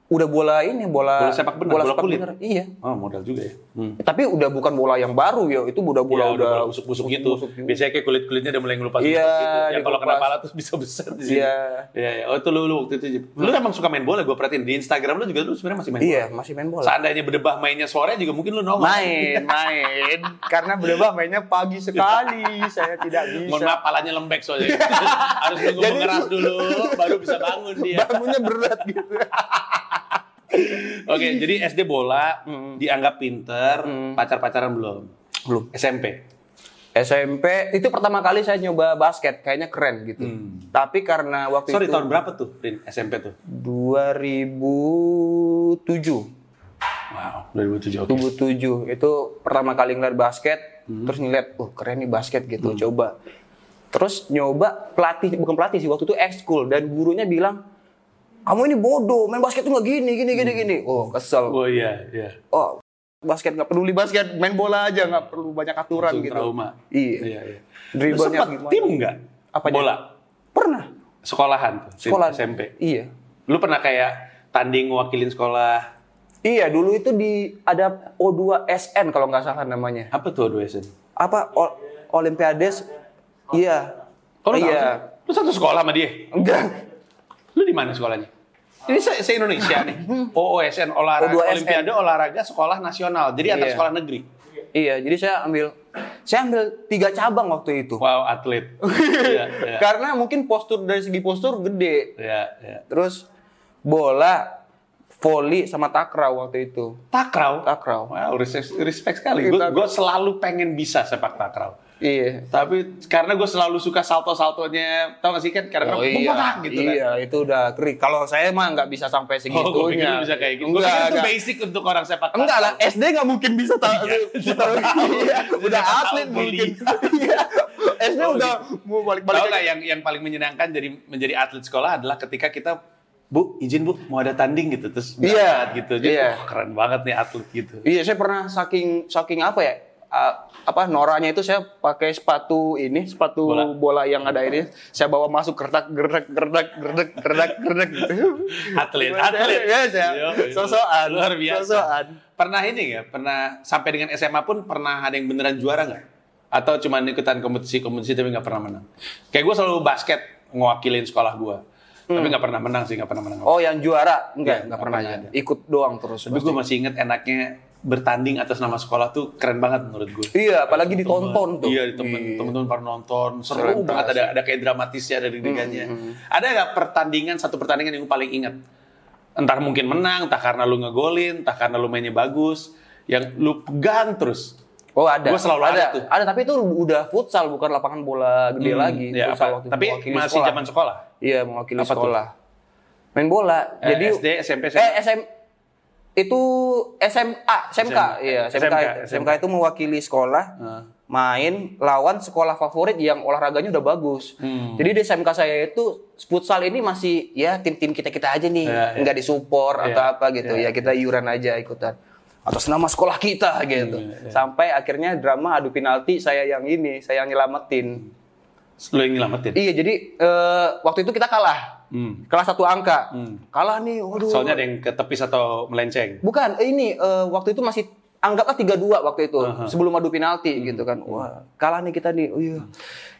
Speaker 1: Udah bola ini, bola
Speaker 3: Bola sepak benar, bola
Speaker 1: sepak
Speaker 3: kulit.
Speaker 1: benar. Iya.
Speaker 3: Oh, modal juga ya. Hmm.
Speaker 1: Tapi udah bukan bola yang baru ya, itu udah bola
Speaker 3: Iya,
Speaker 1: udah
Speaker 3: udah busuk-busuk gitu. Biasanya kayak kulit-kulitnya udah mulai ngelupas
Speaker 1: Iya,
Speaker 3: gitu. Yang kalau kena
Speaker 1: dikelupas.
Speaker 3: pala terus bisa besar di sini.
Speaker 1: Iya.
Speaker 3: Iya, iya. Oh, itu lu, lu waktu itu. Jip. Lu emang suka main bola, gue perhatiin. Di Instagram lu juga lu sebenarnya masih main
Speaker 1: Iya,
Speaker 3: bola.
Speaker 1: masih main bola.
Speaker 3: Seandainya berdebah mainnya sore juga mungkin lu nongol.
Speaker 1: Main, main. Karena berdebah mainnya pagi sekali, saya tidak bisa.
Speaker 3: Mohon
Speaker 1: Iya.
Speaker 3: maaf, palanya lembek soalnya. Harus nunggu
Speaker 1: Jadi-
Speaker 3: mengeras dulu, baru bisa bangun dia.
Speaker 1: Bangunnya berat gitu.
Speaker 3: Oke, jadi SD bola, dianggap pinter, pacar-pacaran belum.
Speaker 1: Belum.
Speaker 3: SMP.
Speaker 1: SMP itu pertama kali saya nyoba basket, kayaknya keren gitu. Tapi karena waktu
Speaker 3: Hmm. Sorry,
Speaker 1: itu
Speaker 3: tahun berapa tuh, Rin, SMP tuh?
Speaker 1: 2007.
Speaker 3: Wow, 2007. oke.
Speaker 1: 2007 itu pertama kali ngeliat basket
Speaker 3: Hmm.
Speaker 1: terus ngeliat oh keren nih basket gitu coba terus nyoba pelatih bukan pelatih sih waktu itu ekskul dan gurunya bilang kamu ini bodoh main basket tuh nggak gini gini gini
Speaker 3: Hmm.
Speaker 1: gini oh kesel
Speaker 3: Oh iya, iya.
Speaker 1: oh basket nggak peduli basket main bola aja nggak perlu banyak aturan
Speaker 3: Langsung
Speaker 1: gitu
Speaker 3: trauma.
Speaker 1: iya,
Speaker 3: Iya, iya. Lu
Speaker 1: Dribblenya
Speaker 3: sempet
Speaker 1: gimana?
Speaker 3: tim nggak?
Speaker 1: Apanya?
Speaker 3: Bola.
Speaker 1: pernah
Speaker 3: Sekolahan tuh, tim
Speaker 1: sekolah
Speaker 3: SMP.
Speaker 1: iya
Speaker 3: Lu pernah kayak tanding wakilin sekolah,
Speaker 1: iya dulu itu di ada O2SN kalau nggak salah namanya
Speaker 3: apa tuh dua SN?
Speaker 1: apa o- Olimpiades iya
Speaker 3: Oh, lu tahu sih?
Speaker 1: iya
Speaker 3: Lu satu sekolah sama dia?
Speaker 1: enggak
Speaker 3: Lu di mana sekolahnya? Ini se, indonesia nih. OOSN olahraga
Speaker 1: O2SN.
Speaker 3: Olimpiade olahraga sekolah nasional. Jadi antar
Speaker 1: Iya.
Speaker 3: sekolah negeri.
Speaker 1: Iya, jadi saya ambil saya ambil tiga cabang waktu itu.
Speaker 3: Wow, atlet. Iya, iya.
Speaker 1: Karena mungkin postur dari segi postur gede.
Speaker 3: Iya, iya.
Speaker 1: Terus bola, volley sama takraw waktu itu.
Speaker 3: Takraw.
Speaker 1: Takraw.
Speaker 3: Wow, respect, respect sekali.
Speaker 1: Iya,
Speaker 3: Gue selalu pengen bisa sepak takraw.
Speaker 1: Iya.
Speaker 3: Tapi karena gue selalu suka salto-saltonya, tau gak sih kan? Karena gitu kan.
Speaker 1: Oh, iya, itu udah krik. Kalau saya mah nggak bisa sampai segitunya.
Speaker 3: Oh, gue pikir lu bisa kayak gitu. Gue
Speaker 1: Enggak,
Speaker 3: pikir itu
Speaker 1: enggak.
Speaker 3: basic untuk orang sepak takraw.
Speaker 1: Enggak lah, eh, SD nggak mungkin bisa tahu.
Speaker 3: Iya.
Speaker 1: Iya, udah
Speaker 3: Siapa
Speaker 1: atlet
Speaker 3: tahu
Speaker 1: mungkin.
Speaker 3: bully.
Speaker 1: Iya. SD udah mau balik-balik.
Speaker 3: Tahu nggak ya? yang yang paling menyenangkan jadi menjadi atlet sekolah adalah ketika kita Bu, izin Bu, mau ada tanding gitu terus
Speaker 1: Iya,
Speaker 3: berangkat gitu. Jadi
Speaker 1: iya.
Speaker 3: wah, keren banget nih atlet gitu.
Speaker 1: Iya, saya pernah saking saking apa ya? ah, apa noranya itu saya pakai sepatu ini, sepatu bola,
Speaker 3: Bola.
Speaker 1: yang ada ini. Saya bawa masuk gertak gerdak gerdak gerdak gerdak gerdak gitu.
Speaker 3: atlet
Speaker 1: Gimana
Speaker 3: atlet
Speaker 1: ya, saya?
Speaker 3: Yo, yo.
Speaker 1: Sosokan.
Speaker 3: luar biasa
Speaker 1: Sosokan.
Speaker 3: pernah ini nggak pernah sampai dengan SMA pun pernah ada yang beneran juara nggak atau cuma ikutan kompetisi kompetisi tapi nggak pernah menang kayak gue selalu basket ngewakilin sekolah gue
Speaker 1: Hmm.
Speaker 3: tapi nggak pernah menang sih nggak pernah menang
Speaker 1: Oh, yang juara? Enggak,
Speaker 3: Iya,
Speaker 1: enggak pernah
Speaker 3: nggak
Speaker 1: ada. Ikut doang terus.
Speaker 3: tapi gue masih inget enaknya bertanding atas nama sekolah tuh keren banget menurut gue
Speaker 1: Iya, apalagi ditonton tuh.
Speaker 3: Iya, di temen, temen-temen para nonton. Seru
Speaker 1: Keren
Speaker 3: banget
Speaker 1: banget Mm-hmm.
Speaker 3: ada ada kayak dramatisnya ada deg-degannya. Ada nggak pertandingan satu pertandingan yang lu paling ingat? Entah mungkin menang, entah karena lu ngegolin, entah karena lu mainnya bagus, yang lu pegang terus.
Speaker 1: Oh ada.
Speaker 3: Gua selalu ada tuh.
Speaker 1: Ada tapi itu udah futsal bukan lapangan bola gede lagi.
Speaker 3: Ya,
Speaker 1: Futsal
Speaker 3: apa?
Speaker 1: waktu
Speaker 3: Tapi
Speaker 1: mewakili
Speaker 3: masih
Speaker 1: sekolah.
Speaker 3: zaman sekolah.
Speaker 1: Iya mewakili
Speaker 3: Apa tuh?
Speaker 1: sekolah. Main bola.
Speaker 3: Eh,
Speaker 1: Jadi
Speaker 3: SD, SMP,
Speaker 1: eh SM itu SMA, SMK,
Speaker 3: SMK.
Speaker 1: iya SMK,
Speaker 3: SMK.
Speaker 1: SMK, itu mewakili sekolah main lawan sekolah favorit yang olahraganya udah bagus. Jadi di SMK saya itu futsal ini masih ya tim-tim kita kita aja nih,
Speaker 3: Iya, iya.
Speaker 1: nggak disupport atau
Speaker 3: Iya,
Speaker 1: apa gitu ya kita iuran aja ikutan atas nama sekolah kita gitu. Sampai akhirnya drama adu penalti saya yang ini, saya yang nyelamatin.
Speaker 3: Lu yang nyelamatin.
Speaker 1: Iya jadi eh, waktu itu kita kalah,
Speaker 3: Hmm.
Speaker 1: kalah satu angka, kalah nih, waduh.
Speaker 3: Soalnya ada yang ketepis atau melenceng.
Speaker 1: Bukan, eh, ini eh, waktu itu masih anggaplah 3-2 waktu itu sebelum adu
Speaker 3: Hmm.
Speaker 1: penalti gitu kan. Wah, kalah nih kita nih. Oh iya.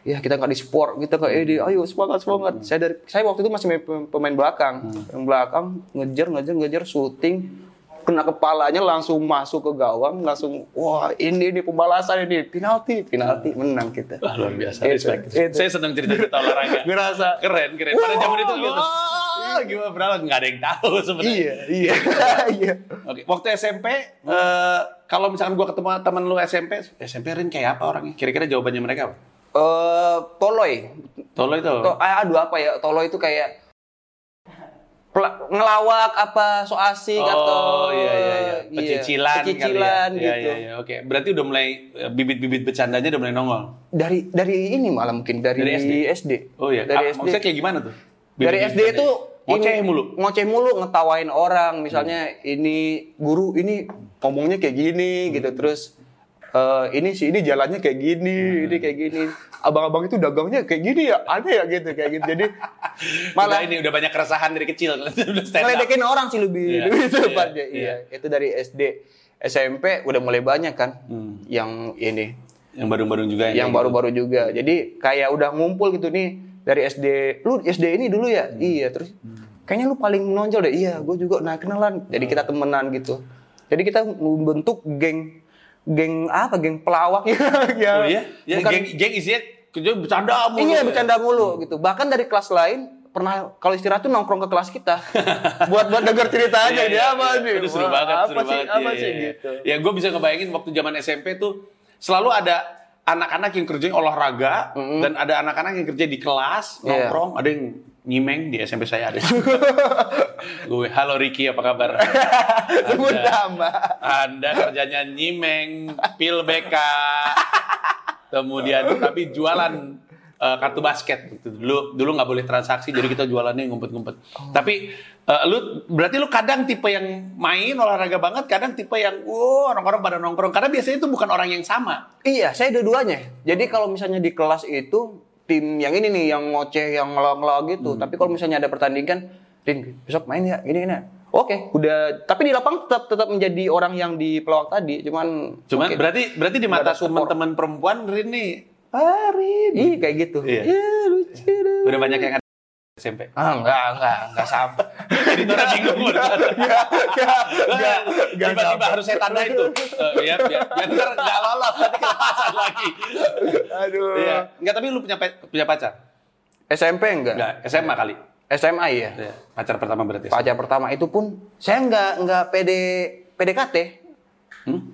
Speaker 1: Ya kita nggak "Eh, di support kita ke Edi. Ayo semangat
Speaker 3: Hmm.
Speaker 1: semangat. Saya dari saya waktu itu masih main pem- pemain belakang. Yang belakang ngejar ngejar ngejar syuting kena kepalanya langsung masuk ke gawang langsung wah ini ini pembalasan ini penalti penalti menang kita
Speaker 3: Hmm. Wah, luar biasa.
Speaker 1: Itu,
Speaker 3: Respect.
Speaker 1: itu.
Speaker 3: Saya senang cerita-cerita olahraga.
Speaker 1: Ngerasa.
Speaker 3: keren, keren. Pada
Speaker 1: Wow,
Speaker 3: zaman itu
Speaker 1: gitu.
Speaker 3: gitu. gimana berapa nggak ada yang tahu sebenarnya.
Speaker 1: iya iya iya
Speaker 3: Oke, waktu SMP
Speaker 1: Hmm.
Speaker 3: eh kalau misalkan gua ketemu temen lu SMP, SMP Rin kayak apa orangnya? Kira-kira jawabannya mereka apa?
Speaker 1: Eh, toloi
Speaker 3: Tolo itu.
Speaker 1: To, ah, aduh apa ya? Tolo itu kayak pela- ngelawak apa so asik atau
Speaker 3: oh iya iya iya.
Speaker 1: iya,
Speaker 3: Pecicilan, kali ya.
Speaker 1: pecicilan
Speaker 3: Iya,
Speaker 1: gitu.
Speaker 3: Iya iya oke. Berarti udah mulai eh, bibit-bibit bercandanya udah mulai nongol.
Speaker 1: Dari dari ini malah mungkin dari,
Speaker 3: Dari
Speaker 1: SD.
Speaker 3: SD? Oh iya.
Speaker 1: Dari
Speaker 3: Ah,
Speaker 1: SD.
Speaker 3: Maksudnya kayak gimana tuh?
Speaker 1: dari
Speaker 3: Bibit-bibit
Speaker 1: SD itu
Speaker 3: bercandanya. ngoceh
Speaker 1: ini-
Speaker 3: mulu. Hmm.
Speaker 1: Ngoceh mulu ngetawain orang, misalnya ini guru ini ngomongnya kayak gini gitu terus eh, ini sih ini jalannya kayak
Speaker 3: Hmm.
Speaker 1: gini, ini kayak gini. Abang-abang itu dagangnya kayak gini ya, aneh ya gitu kayak gitu. Jadi
Speaker 3: Malah
Speaker 1: malah
Speaker 3: udah ini udah banyak keresahan dari kecil. udah stand up.
Speaker 1: ngeledekin orang sih lebih
Speaker 3: Iya,
Speaker 1: lebih
Speaker 3: iya,
Speaker 1: tepatnya. Iya,
Speaker 3: iya.
Speaker 1: itu dari SD, SMP udah mulai banyak kan
Speaker 3: Hmm.
Speaker 1: yang ini,
Speaker 3: Yang baru-baru
Speaker 1: yang
Speaker 3: juga kayak gitu.
Speaker 1: baru-baru juga. Jadi kayak udah ngumpul gitu nih dari SD. Lu SD ini dulu
Speaker 3: Hmm.
Speaker 1: ya? Iya, terus kayaknya lu paling menonjol deh. Iya, gue juga naik kenalan. Jadi
Speaker 3: Hmm.
Speaker 1: kita temenan gitu. Jadi kita membentuk geng geng apa? Geng pelawak ya.
Speaker 3: Oh iya. Ya,
Speaker 1: Bukan-
Speaker 3: geng, geng isinya kerja bercanda mulu.
Speaker 1: Iya
Speaker 3: ya.
Speaker 1: bercanda mulu gitu. Bahkan dari kelas lain pernah kalau istirahat tuh nongkrong ke kelas kita buat buat denger cerita aja
Speaker 3: Iya,
Speaker 1: dia
Speaker 3: iya,
Speaker 1: apa
Speaker 3: iya.
Speaker 1: nih?
Speaker 3: Aduh, seru
Speaker 1: Wah,
Speaker 3: banget,
Speaker 1: apa
Speaker 3: seru
Speaker 1: sih,
Speaker 3: banget.
Speaker 1: apa
Speaker 3: iya,
Speaker 1: sih
Speaker 3: iya.
Speaker 1: gitu.
Speaker 3: Ya gue bisa ngebayangin waktu zaman SMP tuh selalu ada anak-anak yang kerja olahraga dan ada anak-anak yang kerja di
Speaker 1: Iya.
Speaker 3: kelas nongkrong, ada yang nyimeng di SMP saya ada. gue, halo Ricky apa kabar?
Speaker 1: Sebut
Speaker 3: Ada.
Speaker 1: nama.
Speaker 3: Anda kerjanya nyimeng, pil BK, kemudian tapi jualan eh, kartu basket. gitu. Dulu dulu nggak boleh transaksi, jadi kita jualannya ngumpet-ngumpet.
Speaker 1: Oh.
Speaker 3: Tapi eh, lu berarti lu kadang tipe yang main olahraga banget, kadang tipe yang wow orang-orang pada nongkrong. Karena biasanya itu bukan orang yang sama.
Speaker 1: Iya, saya dua-duanya. Jadi kalau misalnya di kelas itu tim yang ini nih yang ngoceh, yang ngelawak-ngelawak gitu. Tapi kalau misalnya ada pertandingan, Rin, besok main ya, gini gini. Oke, udah. Tapi di lapang tetap tetap menjadi orang yang di pelawak tadi, cuman
Speaker 3: Cuman
Speaker 1: mungkin-
Speaker 3: berarti berarti di mata
Speaker 1: Nggak ada support.
Speaker 3: teman-teman perempuan Rin nih
Speaker 1: ah, Rin. Ih, kayak gitu.
Speaker 3: Iya.
Speaker 1: Iya, lucu. deh.
Speaker 3: udah banyak yang ada SMP.
Speaker 1: Ah, enggak, enggak, enggak sampai.
Speaker 3: Jadi orang bingung.
Speaker 1: Enggak, enggak, enggak, iya. enggak
Speaker 3: tiba-tiba
Speaker 1: sampai.
Speaker 3: harus saya tandain tuh. Eh, biar biar biar ntar nggak lolos nanti kelepasan lagi.
Speaker 1: Aduh.
Speaker 3: Iya. Enggak tapi lu punya pe- punya pacar?
Speaker 1: SMP enggak?
Speaker 3: Enggak, SMA kali.
Speaker 1: SMA iya.
Speaker 3: Iya. Pacar pertama berarti.
Speaker 1: Pacar pertama itu pun saya enggak enggak PD PDKT.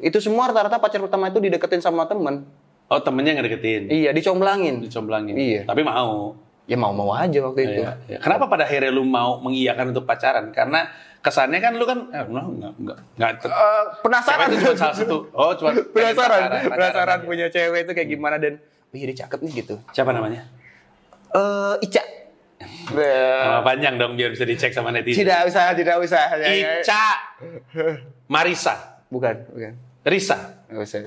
Speaker 1: Itu semua rata-rata pacar pertama itu dideketin sama temen.
Speaker 3: Oh, temennya ngedeketin.
Speaker 1: Iya, dicomblangin.
Speaker 3: Dicomblangin.
Speaker 1: Iya.
Speaker 3: Tapi mau.
Speaker 1: Ya mau-mau aja waktu itu.
Speaker 3: Iya, iya. Kenapa pada akhirnya lu mau mengiyakan untuk pacaran? Karena kesannya kan lu kan eh, no, enggak enggak enggak.
Speaker 1: Eh, penasaran.
Speaker 3: Cewek itu cuma salah satu. Oh, cuma pengen
Speaker 1: penasaran,
Speaker 3: pacaran, pacaran
Speaker 1: penasaran
Speaker 3: aja.
Speaker 1: punya cewek itu kayak gimana dan wih dia cakep nih gitu.
Speaker 3: Siapa namanya?
Speaker 1: Eh, Ica.
Speaker 3: Nama panjang dong biar bisa dicek sama netizen.
Speaker 1: Nah. Tidak usah, tidak usah. Ya, ya.
Speaker 3: Ica Marisa.
Speaker 1: Bukan, bukan.
Speaker 3: Risa.
Speaker 1: Nggak usah.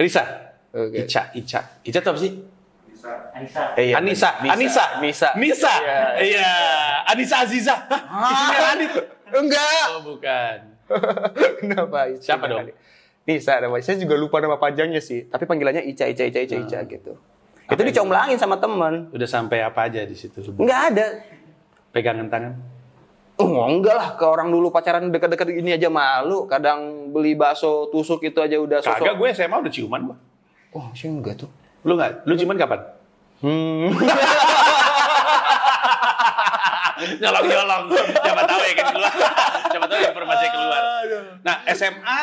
Speaker 3: Risa.
Speaker 1: Oke.
Speaker 3: Ica, Ica. Ica tuh apa sih?
Speaker 4: Anissa.
Speaker 5: Eh, iya,
Speaker 3: Anissa,
Speaker 5: Nisa.
Speaker 3: Anissa,
Speaker 5: Nisa.
Speaker 3: Nisa.
Speaker 5: Iya.
Speaker 3: Iya, Anissa Aziza. Hah, Isinya Rani.
Speaker 1: Enggak.
Speaker 3: Oh, bukan.
Speaker 1: Kenapa Ica?
Speaker 3: Siapa dong?
Speaker 1: Nisa namanya. Saya juga lupa nama panjangnya sih. Tapi panggilannya Ica, Ica, Ica, Ica, Ica gitu. Itu dicomblangin sama temen.
Speaker 3: Udah sampai apa aja di situ?
Speaker 1: Enggak ada.
Speaker 3: Pegangan tangan.
Speaker 1: Oh, enggak lah, ke orang dulu pacaran dekat-dekat ini aja malu. Kadang beli bakso tusuk itu aja udah sosok.
Speaker 3: Kagak gue SMA udah ciuman, Bang.
Speaker 1: Oh, sih enggak tuh.
Speaker 3: Lu enggak? Lu ciuman kapan? Nyolong-nyolong. Siapa tahu ya kan keluar. Siapa tahu informasi keluar. Nah, SMA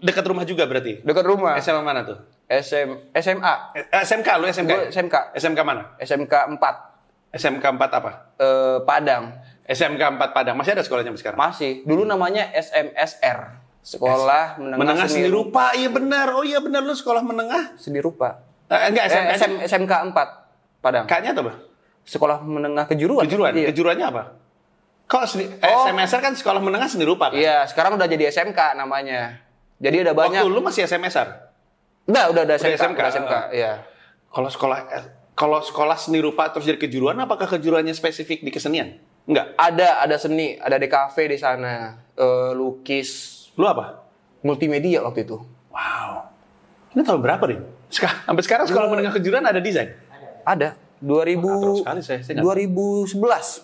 Speaker 3: dekat rumah juga berarti.
Speaker 1: Dekat rumah.
Speaker 3: SMA mana tuh?
Speaker 1: SM, SMA,
Speaker 3: Eh, SMK lu SMK.
Speaker 1: Gua SMK.
Speaker 3: SMK mana?
Speaker 1: SMK 4
Speaker 3: SMK 4 apa?
Speaker 1: eh, Padang.
Speaker 3: SMK 4 Padang. Masih ada sekolahnya sampai sekarang?
Speaker 1: Masih. Dulu namanya SMSR. Sekolah Menengah,
Speaker 3: menengah seni
Speaker 1: Seni Rupa.
Speaker 3: rupa. Iya benar. Oh iya benar lu sekolah menengah.
Speaker 1: Seni Rupa.
Speaker 3: Eh, enggak
Speaker 1: Eh,
Speaker 3: SMK.
Speaker 1: SM, SMK 4 Padang.
Speaker 3: Kayaknya apa?
Speaker 1: Sekolah Menengah Kejuruan.
Speaker 3: Kejuruan.
Speaker 1: Iya.
Speaker 3: Kejuruannya apa? Kok seni,
Speaker 1: Oh.
Speaker 3: SMSR kan sekolah menengah seni rupa kan?
Speaker 1: Iya, sekarang udah jadi SMK namanya. Jadi ada banyak.
Speaker 3: Waktu lu masih SMSR?
Speaker 1: Udah, udah ada SMK.
Speaker 3: SMK.
Speaker 1: udah SMK, Iya.
Speaker 3: Kalau sekolah eh, kalau sekolah seni rupa terus jadi kejuruan, apakah kejuruannya spesifik di kesenian? Enggak.
Speaker 1: Ada, ada seni, ada DKV di sana, Eh, lukis,
Speaker 3: Lu apa?
Speaker 1: multimedia waktu itu.
Speaker 3: Wow. Ini tahun berapa, Din? Seka- sampai sekarang sekolah menengah kejuruan ada desain?
Speaker 1: Ada. 2000
Speaker 3: Atur sekali saya, saya nggak-
Speaker 1: 2011.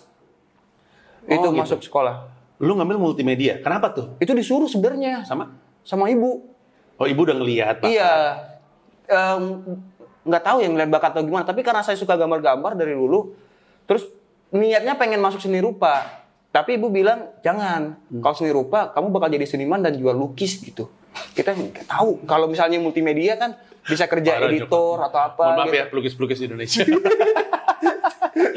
Speaker 1: itu
Speaker 3: gitu.
Speaker 1: masuk sekolah.
Speaker 3: Lu ngambil multimedia. Kenapa tuh?
Speaker 1: Itu disuruh sebenarnya
Speaker 3: Sama?
Speaker 1: sama ibu.
Speaker 3: Oh, ibu udah ngelihat, Pak.
Speaker 1: Iya. Em, nggak tahu yang ngeliat bakat atau gimana, tapi karena saya suka gambar-gambar dari dulu, terus niatnya pengen masuk seni rupa. Tapi ibu bilang, "Jangan.
Speaker 3: Hmm.
Speaker 1: Kalau seni rupa, kamu bakal jadi seniman dan jual lukis gitu." Kita nggak tahu. Kalau misalnya multimedia kan bisa kerja
Speaker 3: Parah,
Speaker 1: editor
Speaker 3: Joko.
Speaker 1: atau apa
Speaker 3: Mohon maaf
Speaker 1: gitu.
Speaker 3: ya, pelukis-pelukis di Indonesia.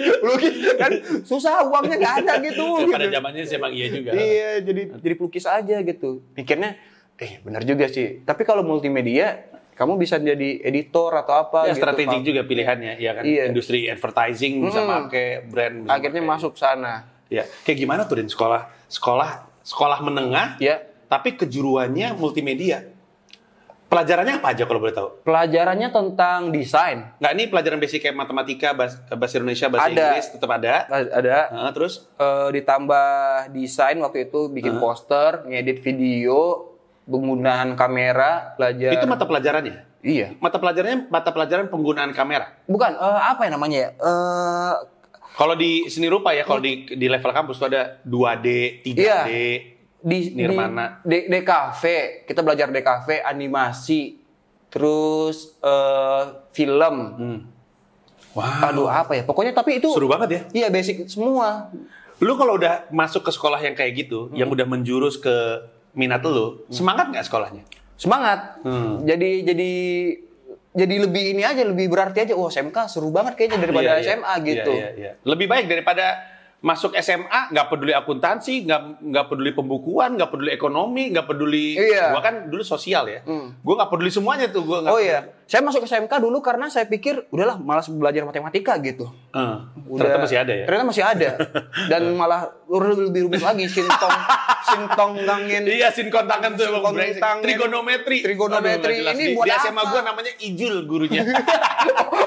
Speaker 1: Lukis kan susah uangnya nggak ada gitu.
Speaker 3: Ya, Pada
Speaker 1: gitu.
Speaker 3: zamannya sih emang iya juga.
Speaker 1: Iya, jadi jadi pelukis aja gitu. Pikirnya, eh benar juga sih. Tapi kalau multimedia, kamu bisa jadi editor atau apa
Speaker 3: Ya,
Speaker 1: gitu.
Speaker 3: strategik
Speaker 1: Pak.
Speaker 3: juga pilihannya, ya kan?
Speaker 1: Iya. Hmm.
Speaker 3: Industri advertising bisa
Speaker 1: Mm-mm.
Speaker 3: pakai brand. bisa
Speaker 1: Akhirnya
Speaker 3: pakai.
Speaker 1: masuk sana.
Speaker 3: Ya, kayak gimana tuh Din sekolah? Sekolah sekolah menengah,
Speaker 1: Ya,
Speaker 3: tapi kejuruannya multimedia. Pelajarannya apa aja kalau boleh tahu?
Speaker 1: pelajarannya tentang desain.
Speaker 3: Nggak, ini pelajaran basic kayak matematika, bahas- bahasa Indonesia, bahasa
Speaker 1: Ada.
Speaker 3: Inggris tetap ada.
Speaker 1: Ada
Speaker 3: Nah, terus
Speaker 1: eh, ditambah desain waktu itu
Speaker 3: Hmm.
Speaker 1: bikin poster, ngedit video, penggunaan kamera, belajar.
Speaker 3: itu mata pelajarannya.
Speaker 1: Iya.
Speaker 3: Mata pelajarannya mata pelajaran penggunaan kamera.
Speaker 1: Bukan eh, apa ya namanya ya? Eh,
Speaker 3: Kalau di seni rupa ya, kalau di di level kampus tuh ada 2D, 3D.
Speaker 1: Iya. di di-
Speaker 3: Nirmana.
Speaker 1: di DKV kita belajar DKV animasi terus eh, film
Speaker 3: Wah,
Speaker 1: aduh apa ya pokoknya tapi itu
Speaker 3: Hmm. seru banget ya.
Speaker 1: iya basic semua
Speaker 3: Lu kalau udah masuk ke sekolah yang kayak gitu,
Speaker 1: Hmm.
Speaker 3: yang udah menjurus ke minat lu, semangat nggak sekolahnya?
Speaker 1: semangat
Speaker 3: Hmm.
Speaker 1: jadi jadi jadi lebih ini aja lebih berarti aja wah SMK seru banget kayaknya daripada
Speaker 3: Iya, iya.
Speaker 1: SMA gitu
Speaker 3: Iya, iya, iya. Lebih baik daripada masuk SMA nggak peduli akuntansi, nggak nggak peduli pembukuan, nggak peduli ekonomi, nggak peduli.
Speaker 1: Iya. Hmm.
Speaker 3: Gua kan dulu sosial ya. Gua nggak peduli semuanya tuh. Gua nggak
Speaker 1: oh iya saya masuk SMK dulu karena saya pikir udahlah malas belajar matematika gitu
Speaker 3: Eh,
Speaker 1: Udah-
Speaker 3: ternyata masih ada ya.
Speaker 1: Ternyata masih ada. Dan malah lebih rumit lagi sintong sintong gangin.
Speaker 3: Iya, sinkon tangan tuh emang
Speaker 1: Sinkon
Speaker 3: brengsek.
Speaker 1: tangan.
Speaker 3: Trigonometri.
Speaker 1: Trigonometri.
Speaker 3: Aduh, nggak jelas.
Speaker 1: Ini
Speaker 3: di,
Speaker 1: buat
Speaker 3: di SMA
Speaker 1: apa?
Speaker 3: gua namanya Ijul gurunya.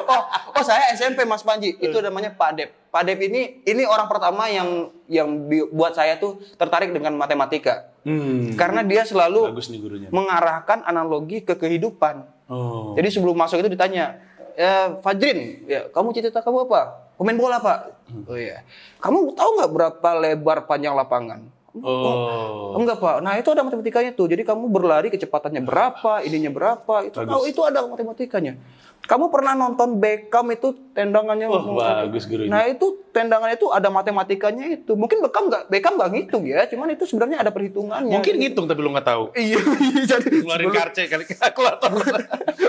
Speaker 1: oh, oh, saya SMP Mas Panji. Itu
Speaker 3: Hmm.
Speaker 1: namanya Pak Dep. Pak Dep ini ini orang pertama yang yang bi- buat saya tuh tertarik dengan matematika.
Speaker 3: hmm.
Speaker 1: Karena dia selalu
Speaker 3: Bagus nih gurunya.
Speaker 1: mengarahkan analogi ke kehidupan.
Speaker 3: Oh.
Speaker 1: Jadi sebelum masuk itu ditanya, "Eh, Fajrin, ya, kamu cita-cita kamu apa? Pemain bola pak?
Speaker 3: Hmm.
Speaker 1: Oh iya. Kamu tahu nggak berapa lebar panjang lapangan?
Speaker 3: oh.
Speaker 1: Enggak pak. Nah itu ada matematikanya tuh. Jadi kamu berlari kecepatannya berapa, ininya berapa? Itu
Speaker 3: Bagus.
Speaker 1: tahu itu ada matematikanya. Kamu pernah nonton Beckham itu tendangannya?
Speaker 3: Oh, bagus gurunya.
Speaker 1: Nah itu tendangannya itu ada matematikanya itu. Mungkin Beckham nggak Beckham nggak ngitung ya. Cuman itu sebenarnya ada perhitungannya.
Speaker 3: Mungkin ngitung tapi lu nggak tahu.
Speaker 1: Iya, jadi
Speaker 3: Keluarin karce kali kalkulator.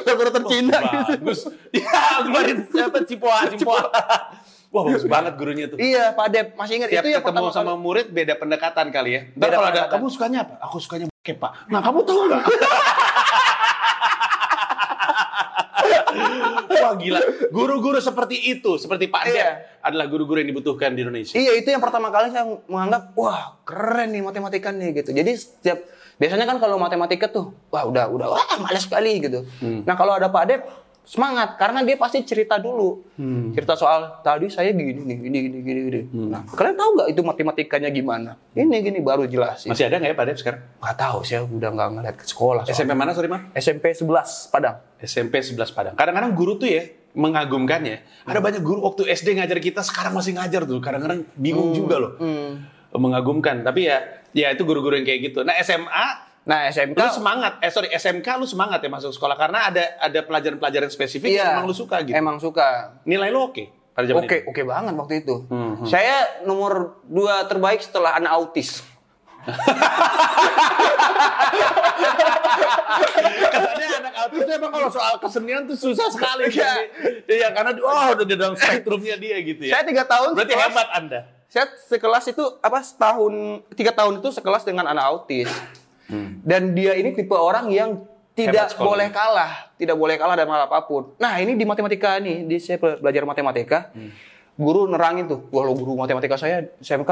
Speaker 1: Kalkulator Cina.
Speaker 3: bagus. Ya, keluarin siapa Cipoa, Cipoa. Wah, bagus banget gurunya tuh.
Speaker 1: Iya, Pak Dep masih ingat
Speaker 3: Tiap
Speaker 1: itu yang
Speaker 3: ketemu
Speaker 1: pertama
Speaker 3: sama murid beda pendekatan kali ya. Ntar
Speaker 1: Beda
Speaker 3: kalau ada
Speaker 1: pendekatan.
Speaker 3: kamu sukanya apa? Aku sukanya bokep, Pak. Nah, kamu tahu nggak? Wah gila, guru-guru seperti itu, seperti Pak Dep
Speaker 1: Iya.
Speaker 3: adalah guru-guru yang dibutuhkan di Indonesia.
Speaker 1: Iya itu yang pertama kali saya menganggap wah keren nih matematika nih gitu. Jadi setiap Biasanya kan kalau matematika tuh, wah udah udah wah males sekali gitu.
Speaker 3: Hmm.
Speaker 1: Nah, kalau ada Pak Dep semangat karena dia pasti cerita dulu.
Speaker 3: Hmm.
Speaker 1: Cerita soal tadi saya gini nih, gini gini gini gini. Nah, kalian tahu nggak itu matematikanya gimana? Ini gini baru jelasin.
Speaker 3: Masih ada nggak ya Pak Dep sekarang?
Speaker 1: Nggak tahu saya udah nggak ngeliat ke sekolah. soalnya.
Speaker 3: SMP mana sorry Mar?
Speaker 1: SMP 11 Padang.
Speaker 3: SMP 11 Padang. Kadang-kadang guru tuh ya mengagumkan ya.
Speaker 1: Hmm.
Speaker 3: Ada banyak guru waktu SD ngajar kita sekarang masih ngajar tuh. Kadang-kadang
Speaker 1: Hmm.
Speaker 3: bingung juga loh. Mengagumkan. Tapi ya ya itu guru-guru yang kayak gitu. Nah SMA
Speaker 1: Nah, SMK
Speaker 3: lu semangat. Eh sorry SMK lu semangat ya masuk sekolah karena ada ada pelajaran-pelajaran spesifik
Speaker 1: iya,
Speaker 3: yang emang lu suka gitu.
Speaker 1: Emang suka.
Speaker 3: Nilai lu oke pada zaman
Speaker 1: Oke,
Speaker 3: itu.
Speaker 1: oke banget waktu itu.
Speaker 3: Hmm,
Speaker 1: Saya nomor dua terbaik setelah anak autis.
Speaker 3: Katanya Eh, anak autis tuh emang kalau soal kesenian tuh susah sekali. Iya. Iya karena oh udah di dalam spektrumnya dia gitu ya.
Speaker 1: Saya tiga tahun.
Speaker 3: Berarti
Speaker 1: sekelas-
Speaker 3: hebat Anda.
Speaker 1: Saya sekelas itu apa setahun tiga tahun itu sekelas dengan anak autis. Dan dia ini tipe orang yang tidak
Speaker 3: Hmm. Hebat sekolah.
Speaker 1: boleh kalah, tidak boleh kalah dalam hal apapun. Nah ini di matematika nih, di saya bela- belajar matematika. Guru nerangin tuh, walau guru matematika saya SMK,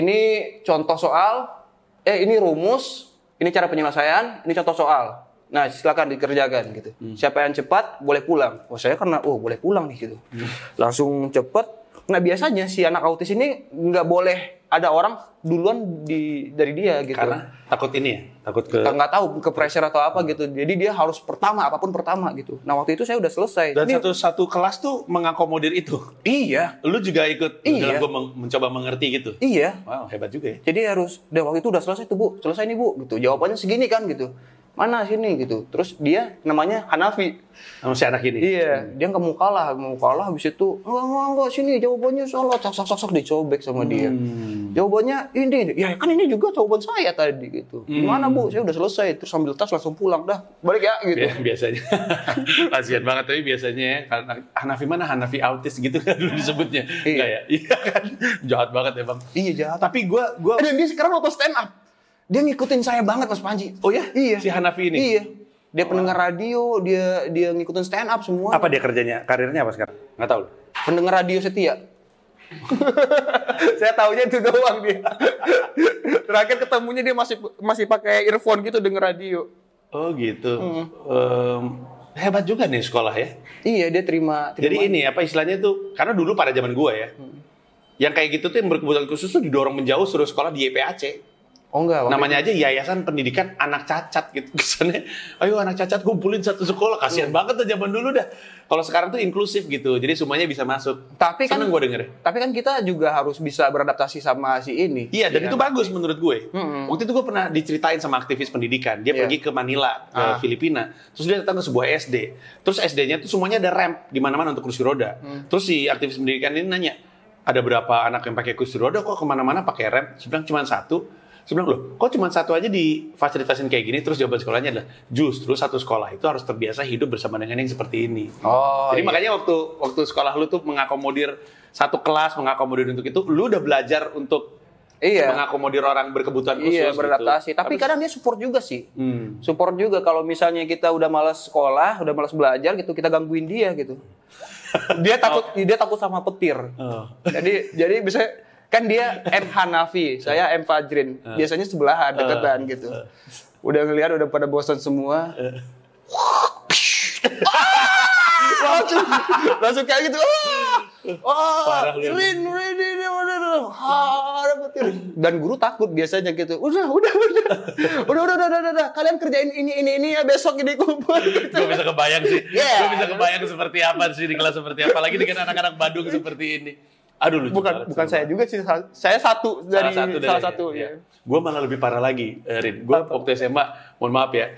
Speaker 1: ini contoh soal, eh ini rumus, ini cara penyelesaian, ini contoh soal. Nah silakan dikerjakan gitu. Siapa yang cepat boleh pulang. Oh saya karena, oh boleh pulang nih gitu. Langsung cepet. Nah biasanya si anak autis ini nggak boleh ada orang duluan di dari dia gitu
Speaker 3: Karena takut ini ya, takut ke
Speaker 1: nggak nggak tahu ke pressure atau apa gitu jadi dia harus pertama apapun pertama gitu nah waktu itu saya udah selesai
Speaker 3: Dan
Speaker 1: Ini-
Speaker 3: satu satu kelas tuh mengakomodir itu.
Speaker 1: iya
Speaker 3: Lu juga ikut dalam
Speaker 1: Iya.
Speaker 3: gua meng- mencoba mengerti gitu.
Speaker 1: iya
Speaker 3: Wow, hebat juga ya.
Speaker 1: jadi harus dan waktu itu udah selesai tuh bu selesai nih bu gitu jawabannya segini kan gitu mana sini gitu terus dia namanya Hanafi
Speaker 3: Sama si anak ini.
Speaker 1: Iya, dia nggak mau kalah, mau kalah habis itu enggak enggak enggak sini jawabannya salah, sok sok sok sok dicobek sama dia.
Speaker 3: Hmm.
Speaker 1: Jawabannya ini, ya kan ini juga jawaban saya tadi gitu.
Speaker 3: Hmm.
Speaker 1: Gimana bu, saya udah selesai, terus sambil tas langsung pulang dah, balik ya gitu.
Speaker 3: Bi- biasanya. Kasihan banget tapi biasanya ya karena Hanafi mana Hanafi autis gitu kan dulu disebutnya. Enggak ya? Iya kan. Jahat banget ya, Bang.
Speaker 1: Iya jahat.
Speaker 3: Tapi gua
Speaker 1: Eh,
Speaker 3: gua
Speaker 1: Dan dia sekarang auto stand up. Dia ngikutin saya banget Mas Panji. Oh ya? Iya.
Speaker 3: si Hanafi ini.
Speaker 1: Iya. Dia pendengar radio, dia dia ngikutin stand up semua.
Speaker 3: Apa dia kerjanya? Karirnya apa sekarang? Enggak tahu.
Speaker 1: Pendengar radio setia. saya taunya itu doang dia. Terakhir ketemunya dia masih masih pakai earphone gitu denger radio.
Speaker 3: Oh, gitu. Em, hebat juga nih sekolah ya.
Speaker 1: Iya, dia terima, terima.
Speaker 3: Jadi ini apa istilahnya tuh karena dulu pada zaman gua ya. Yang kayak gitu tuh yang berkebutuhan khusus tuh didorong menjauh suruh sekolah di E YPAC.
Speaker 1: oh enggak. waktu-
Speaker 3: Namanya aja Yayasan Pendidikan Anak Cacat gitu. Kesannya, ayo anak cacat kumpulin satu sekolah.
Speaker 1: Iya.
Speaker 3: Kasihan banget tuh zaman dulu dah. Kalau sekarang tuh inklusif gitu. Jadi semuanya bisa masuk.
Speaker 1: Tapi kan-
Speaker 3: Seneng gue denger.
Speaker 1: Tapi kan kita juga harus bisa beradaptasi sama si ini.
Speaker 3: Iya, dan itu bagus menurut gue.
Speaker 1: kan? Mm-mm.
Speaker 3: Waktu itu gue pernah diceritain sama aktivis pendidikan. Dia
Speaker 1: Iya.
Speaker 3: pergi ke Manila, ke
Speaker 1: Ah.
Speaker 3: Filipina. Terus dia datang ke sebuah SD. Terus SD-nya tuh semuanya ada ramp di mana-mana untuk kursi roda.
Speaker 1: Hmm.
Speaker 3: Terus si aktivis pendidikan ini nanya, ada berapa anak yang pakai kursi roda kok kemana-mana pakai ramp? Dia bilang cuma satu. Dia bilang, loh kok cuma satu aja difasilitasin kayak gini? Terus jawaban sekolahnya adalah, justru satu sekolah itu harus terbiasa hidup bersama dengan yang seperti ini.
Speaker 1: Oh.
Speaker 3: Jadi
Speaker 1: iya.
Speaker 3: makanya waktu waktu sekolah lu tuh mengakomodir satu kelas mengakomodir untuk itu, lu udah belajar untuk
Speaker 1: Iya.
Speaker 3: mengakomodir orang berkebutuhan khusus.
Speaker 1: Iya,
Speaker 3: gitu.
Speaker 1: beradaptasi. Tapi kadang dia support juga sih.
Speaker 3: Hmm.
Speaker 1: Support juga kalau misalnya kita udah malas sekolah, udah malas belajar gitu, kita gangguin dia gitu. Dia takut dia takut sama petir.
Speaker 3: Oh.
Speaker 1: Jadi jadi bisa kan dia M Hanafi, saya M Fajrin. Biasanya sebelahan deketan gitu. Udah ngelihat udah pada bosan semua. langsung langsung kayak gitu.
Speaker 3: Parah
Speaker 1: Oh,
Speaker 3: lu.
Speaker 1: Rin, Rin, Rin, Rin, Rin. Ah, ada petir. Dan guru takut biasanya gitu. Udah, udah, udah. Udah, udah, udah, udah, udah. Kalian kerjain ini, ini, ini ya besok ini kumpul. Gitu.
Speaker 3: Gue bisa kebayang sih.
Speaker 1: Iya.
Speaker 3: Gue bisa kebayang seperti apa sih di kelas seperti apa. Lagi dengan anak-anak Badung seperti ini. Aduh lucu
Speaker 1: Bukan,
Speaker 3: banget.
Speaker 1: bukan saya juga sih. Saya satu dari salah satu. ya.
Speaker 3: Gue malah lebih parah lagi, eh, Rin. Gue waktu SMA, mohon maaf ya.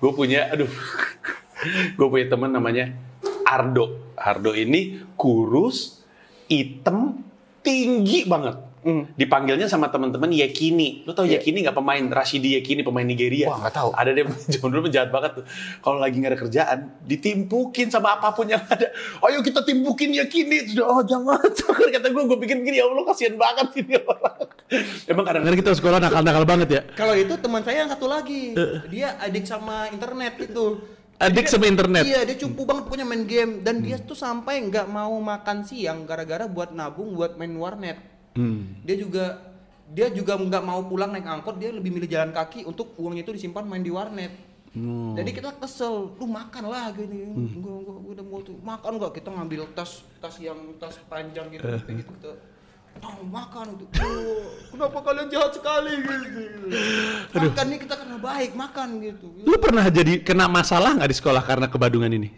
Speaker 3: Gue punya, aduh. gue punya teman namanya Ardo. Ardo ini kurus, item, tinggi banget.
Speaker 1: Hmm.
Speaker 3: Dipanggilnya sama teman-teman Yekini. Lu tau Yekini nggak pemain Rashidi Yekini pemain Nigeria?
Speaker 1: Wah, Iya. nggak tahu.
Speaker 3: Ada dia zaman dulu penjahat banget tuh. Kalau lagi nggak ada kerjaan, ditimpukin sama apapun yang ada. Ayo kita timpukin Yekini. Terus dia, oh jangan. jangan. Kata gue, gue bikin gini ya Allah kasihan banget ini orang. Emang kadang-kadang kita sekolah nakal-nakal banget ya.
Speaker 1: Kalau itu teman saya yang satu lagi, dia adik sama internet gitu.
Speaker 3: Eh. Adik sama internet.
Speaker 1: Iya, dia cupu banget pokoknya main game dan dia tuh sampai
Speaker 3: Hmm.
Speaker 1: nggak mau makan siang gara-gara buat nabung buat main warnet. Dia juga
Speaker 4: dia juga nggak mau pulang naik angkot dia lebih milih jalan kaki untuk uangnya itu disimpan main di warnet
Speaker 3: Oh.
Speaker 4: jadi kita kesel lu makan lah gini
Speaker 3: Hmm.
Speaker 4: gua, gua, gua udah mau tuh makan nggak kita ngambil tas tas yang tas panjang gitu
Speaker 3: Eh.
Speaker 4: kayak gitu, gitu. Tolong makan itu "Oh, kenapa kalian jahat sekali gitu makan nih kita karena baik makan gitu
Speaker 5: Lu pernah jadi kena masalah nggak di sekolah karena kebadungan ini?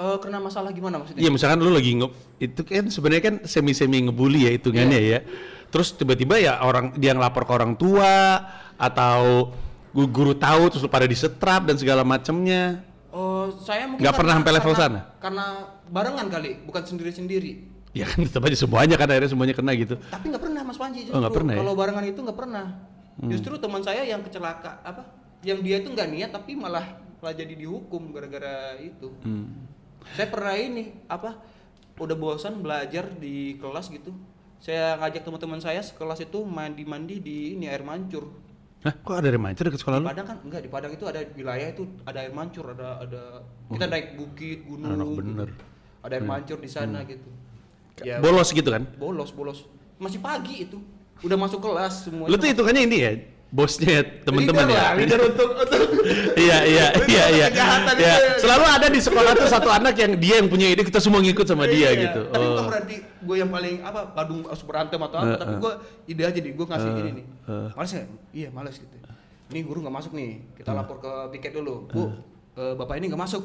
Speaker 4: Eh, kena masalah gimana maksudnya
Speaker 5: Iya, misalkan lu lagi nge itu kan sebenarnya kan semi-semi ngebully ya hitungannya ya. Terus tiba-tiba ya orang dia ngelapor ke orang tua atau gu- guru tahu terus lu pada disetrap dan segala macemnya.
Speaker 4: Eh, saya mungkin
Speaker 5: Nggak pernah
Speaker 4: karena-
Speaker 5: sampai level
Speaker 4: karena-
Speaker 5: sana?
Speaker 4: karena barengan kali bukan sendiri sendiri
Speaker 5: Ya kan tetap aja semuanya kan akhirnya semuanya kena gitu.
Speaker 4: tapi nggak pernah Mas Panji justru
Speaker 5: Oh, nggak pernah ya? Hmm.
Speaker 4: kalau barengan itu nggak pernah justru teman saya yang kecelaka apa yang dia itu nggak niat tapi malah malah jadi dihukum gara-gara itu
Speaker 5: Hmm.
Speaker 4: saya pernah ini apa udah bosan belajar di kelas gitu saya ngajak teman-teman saya sekelas itu mandi-mandi di ini air mancur
Speaker 5: Hah, kok ada remaja dekat sekolah
Speaker 4: di
Speaker 5: lu?
Speaker 4: Padang kan enggak di Padang itu ada wilayah itu ada air mancur ada ada kita naik bukit gunung
Speaker 5: Oh. Anak
Speaker 4: gitu.
Speaker 5: bener. Hmm.
Speaker 4: ada air mancur di sana gitu ya
Speaker 5: Bolos gitu kan?
Speaker 4: bolos bolos masih pagi itu udah masuk kelas semua
Speaker 5: Lu tuh hitungannya ini ya, bosnya teman-teman
Speaker 4: Leader
Speaker 5: ya.
Speaker 4: lah, leader untuk, untuk-
Speaker 5: iya iya iya iya.
Speaker 4: kejahatan
Speaker 5: Iya.
Speaker 4: itu.
Speaker 5: Selalu ada di sekolah tuh satu anak yang dia yang punya ide kita semua ngikut sama dia
Speaker 4: Iya,
Speaker 5: gitu.
Speaker 4: tapi bukan
Speaker 5: Oh.
Speaker 4: berarti gue yang paling apa badung harus berantem atau
Speaker 5: Eh,
Speaker 4: apa tapi
Speaker 5: eh.
Speaker 4: gue ide aja nih gue ngasih ini nih
Speaker 5: eh.
Speaker 4: males ya iya males gitu ini guru nggak masuk nih
Speaker 5: Eh.
Speaker 4: kita lapor ke piket dulu bu eh, bapak ini nggak masuk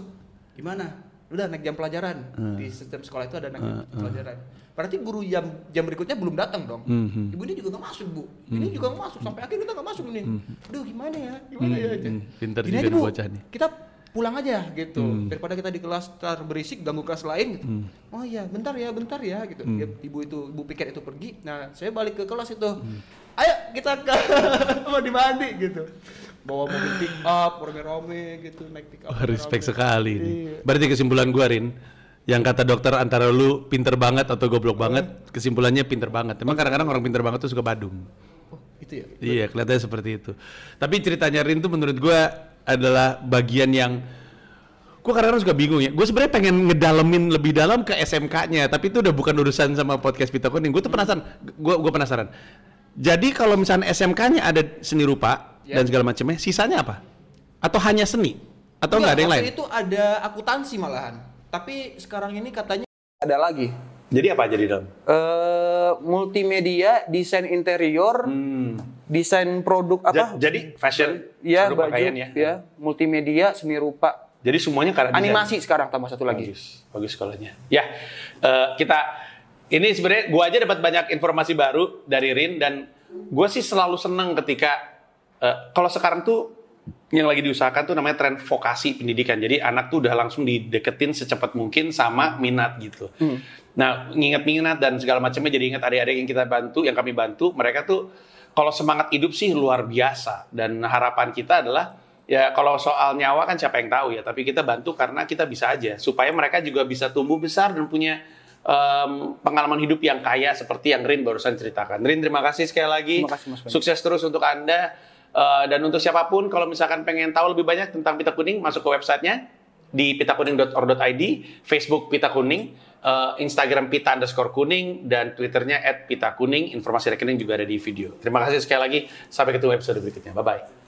Speaker 4: gimana udah naik jam pelajaran
Speaker 5: Eh.
Speaker 4: di sistem sekolah itu ada naik jam pelajaran berarti guru jam jam berikutnya belum datang dong
Speaker 5: Mhm.
Speaker 4: ibu ini juga nggak masuk bu ini juga nggak masuk sampai akhir kita nggak masuk nih aduh gimana ya gimana ya
Speaker 5: Mhm. Pintar juga
Speaker 4: Gini aja,
Speaker 5: nih
Speaker 4: Bu.
Speaker 5: bocah nih.
Speaker 4: Kita pulang aja gitu.
Speaker 5: Hmm.
Speaker 4: Daripada kita di kelas tar berisik ganggu kelas lain gitu. Oh iya, bentar ya, bentar ya gitu.
Speaker 5: Hmm.
Speaker 4: Ya, ibu itu ibu piket itu pergi. Nah, saya balik ke kelas itu.
Speaker 5: Hmm.
Speaker 4: Ayo kita ke mandi mandi gitu. Bawa mobil pick up, rame-rame gitu, naik pick up.
Speaker 5: Oh,
Speaker 4: rame-rame.
Speaker 5: respect sekali ini.
Speaker 4: Iya.
Speaker 5: Berarti kesimpulan gua Rin, yang kata dokter antara lu pinter banget atau goblok banget, kesimpulannya pinter banget. Emang kadang-kadang orang pinter banget tuh suka badung.
Speaker 4: Oh, itu ya.
Speaker 5: Iya, kelihatannya seperti itu. Tapi ceritanya Rin tuh menurut gua adalah bagian yang gua kadang-kadang suka bingung ya. Gue sebenarnya pengen ngedalemin lebih dalam ke SMK-nya, tapi itu udah bukan urusan sama podcast Pita Kuning. Gue tuh penasaran. Gua gua penasaran. Jadi kalau misalnya SMK-nya ada seni rupa
Speaker 4: Ya.
Speaker 5: dan segala macamnya, sisanya apa? Atau hanya seni? Atau nggak ada yang lain?
Speaker 4: Enggak, waktu Itu ada akuntansi malahan. Tapi sekarang ini katanya ada lagi.
Speaker 3: Jadi apa aja di dalam?
Speaker 4: eh multimedia, desain interior, desain produk apa?
Speaker 3: Hmm. Ja- jadi fashion,
Speaker 4: Iya,
Speaker 3: produk
Speaker 4: baju,
Speaker 3: pakaian
Speaker 4: ya. multimedia, seni rupa,
Speaker 3: Jadi semuanya karena desain.
Speaker 4: animasi sekarang tambah satu lagi.
Speaker 3: Bagus, bagus sekolahnya. Ya, eh, kita ini sebenarnya gua aja dapat banyak informasi baru dari Rin dan gua sih selalu senang ketika eh, kalau sekarang tuh yang lagi diusahakan tuh namanya tren vokasi pendidikan. Jadi anak tuh udah langsung dideketin secepat mungkin sama minat gitu. Nah, nginget-nginget dan segala macamnya jadi ingat adik-adik yang kita bantu, yang kami bantu, mereka tuh kalau semangat hidup sih luar biasa dan harapan kita adalah Ya kalau soal nyawa kan siapa yang tahu ya, tapi kita bantu karena kita bisa aja supaya mereka juga bisa tumbuh besar dan punya em, pengalaman hidup yang kaya seperti yang Rin barusan ceritakan. Rin terima kasih sekali lagi.
Speaker 4: Terima kasih, Mas Bayu.
Speaker 3: Sukses terus untuk Anda Eh, dan untuk siapapun kalau misalkan pengen tahu lebih banyak tentang Pita Kuning masuk ke websitenya di pitakuning.or.id, Facebook Pita Kuning, eh, Instagram Pita underscore kuning dan Twitternya @pitakuning. Informasi rekening juga ada di video. Terima kasih sekali lagi. Sampai ketemu episode berikutnya. Bye bye.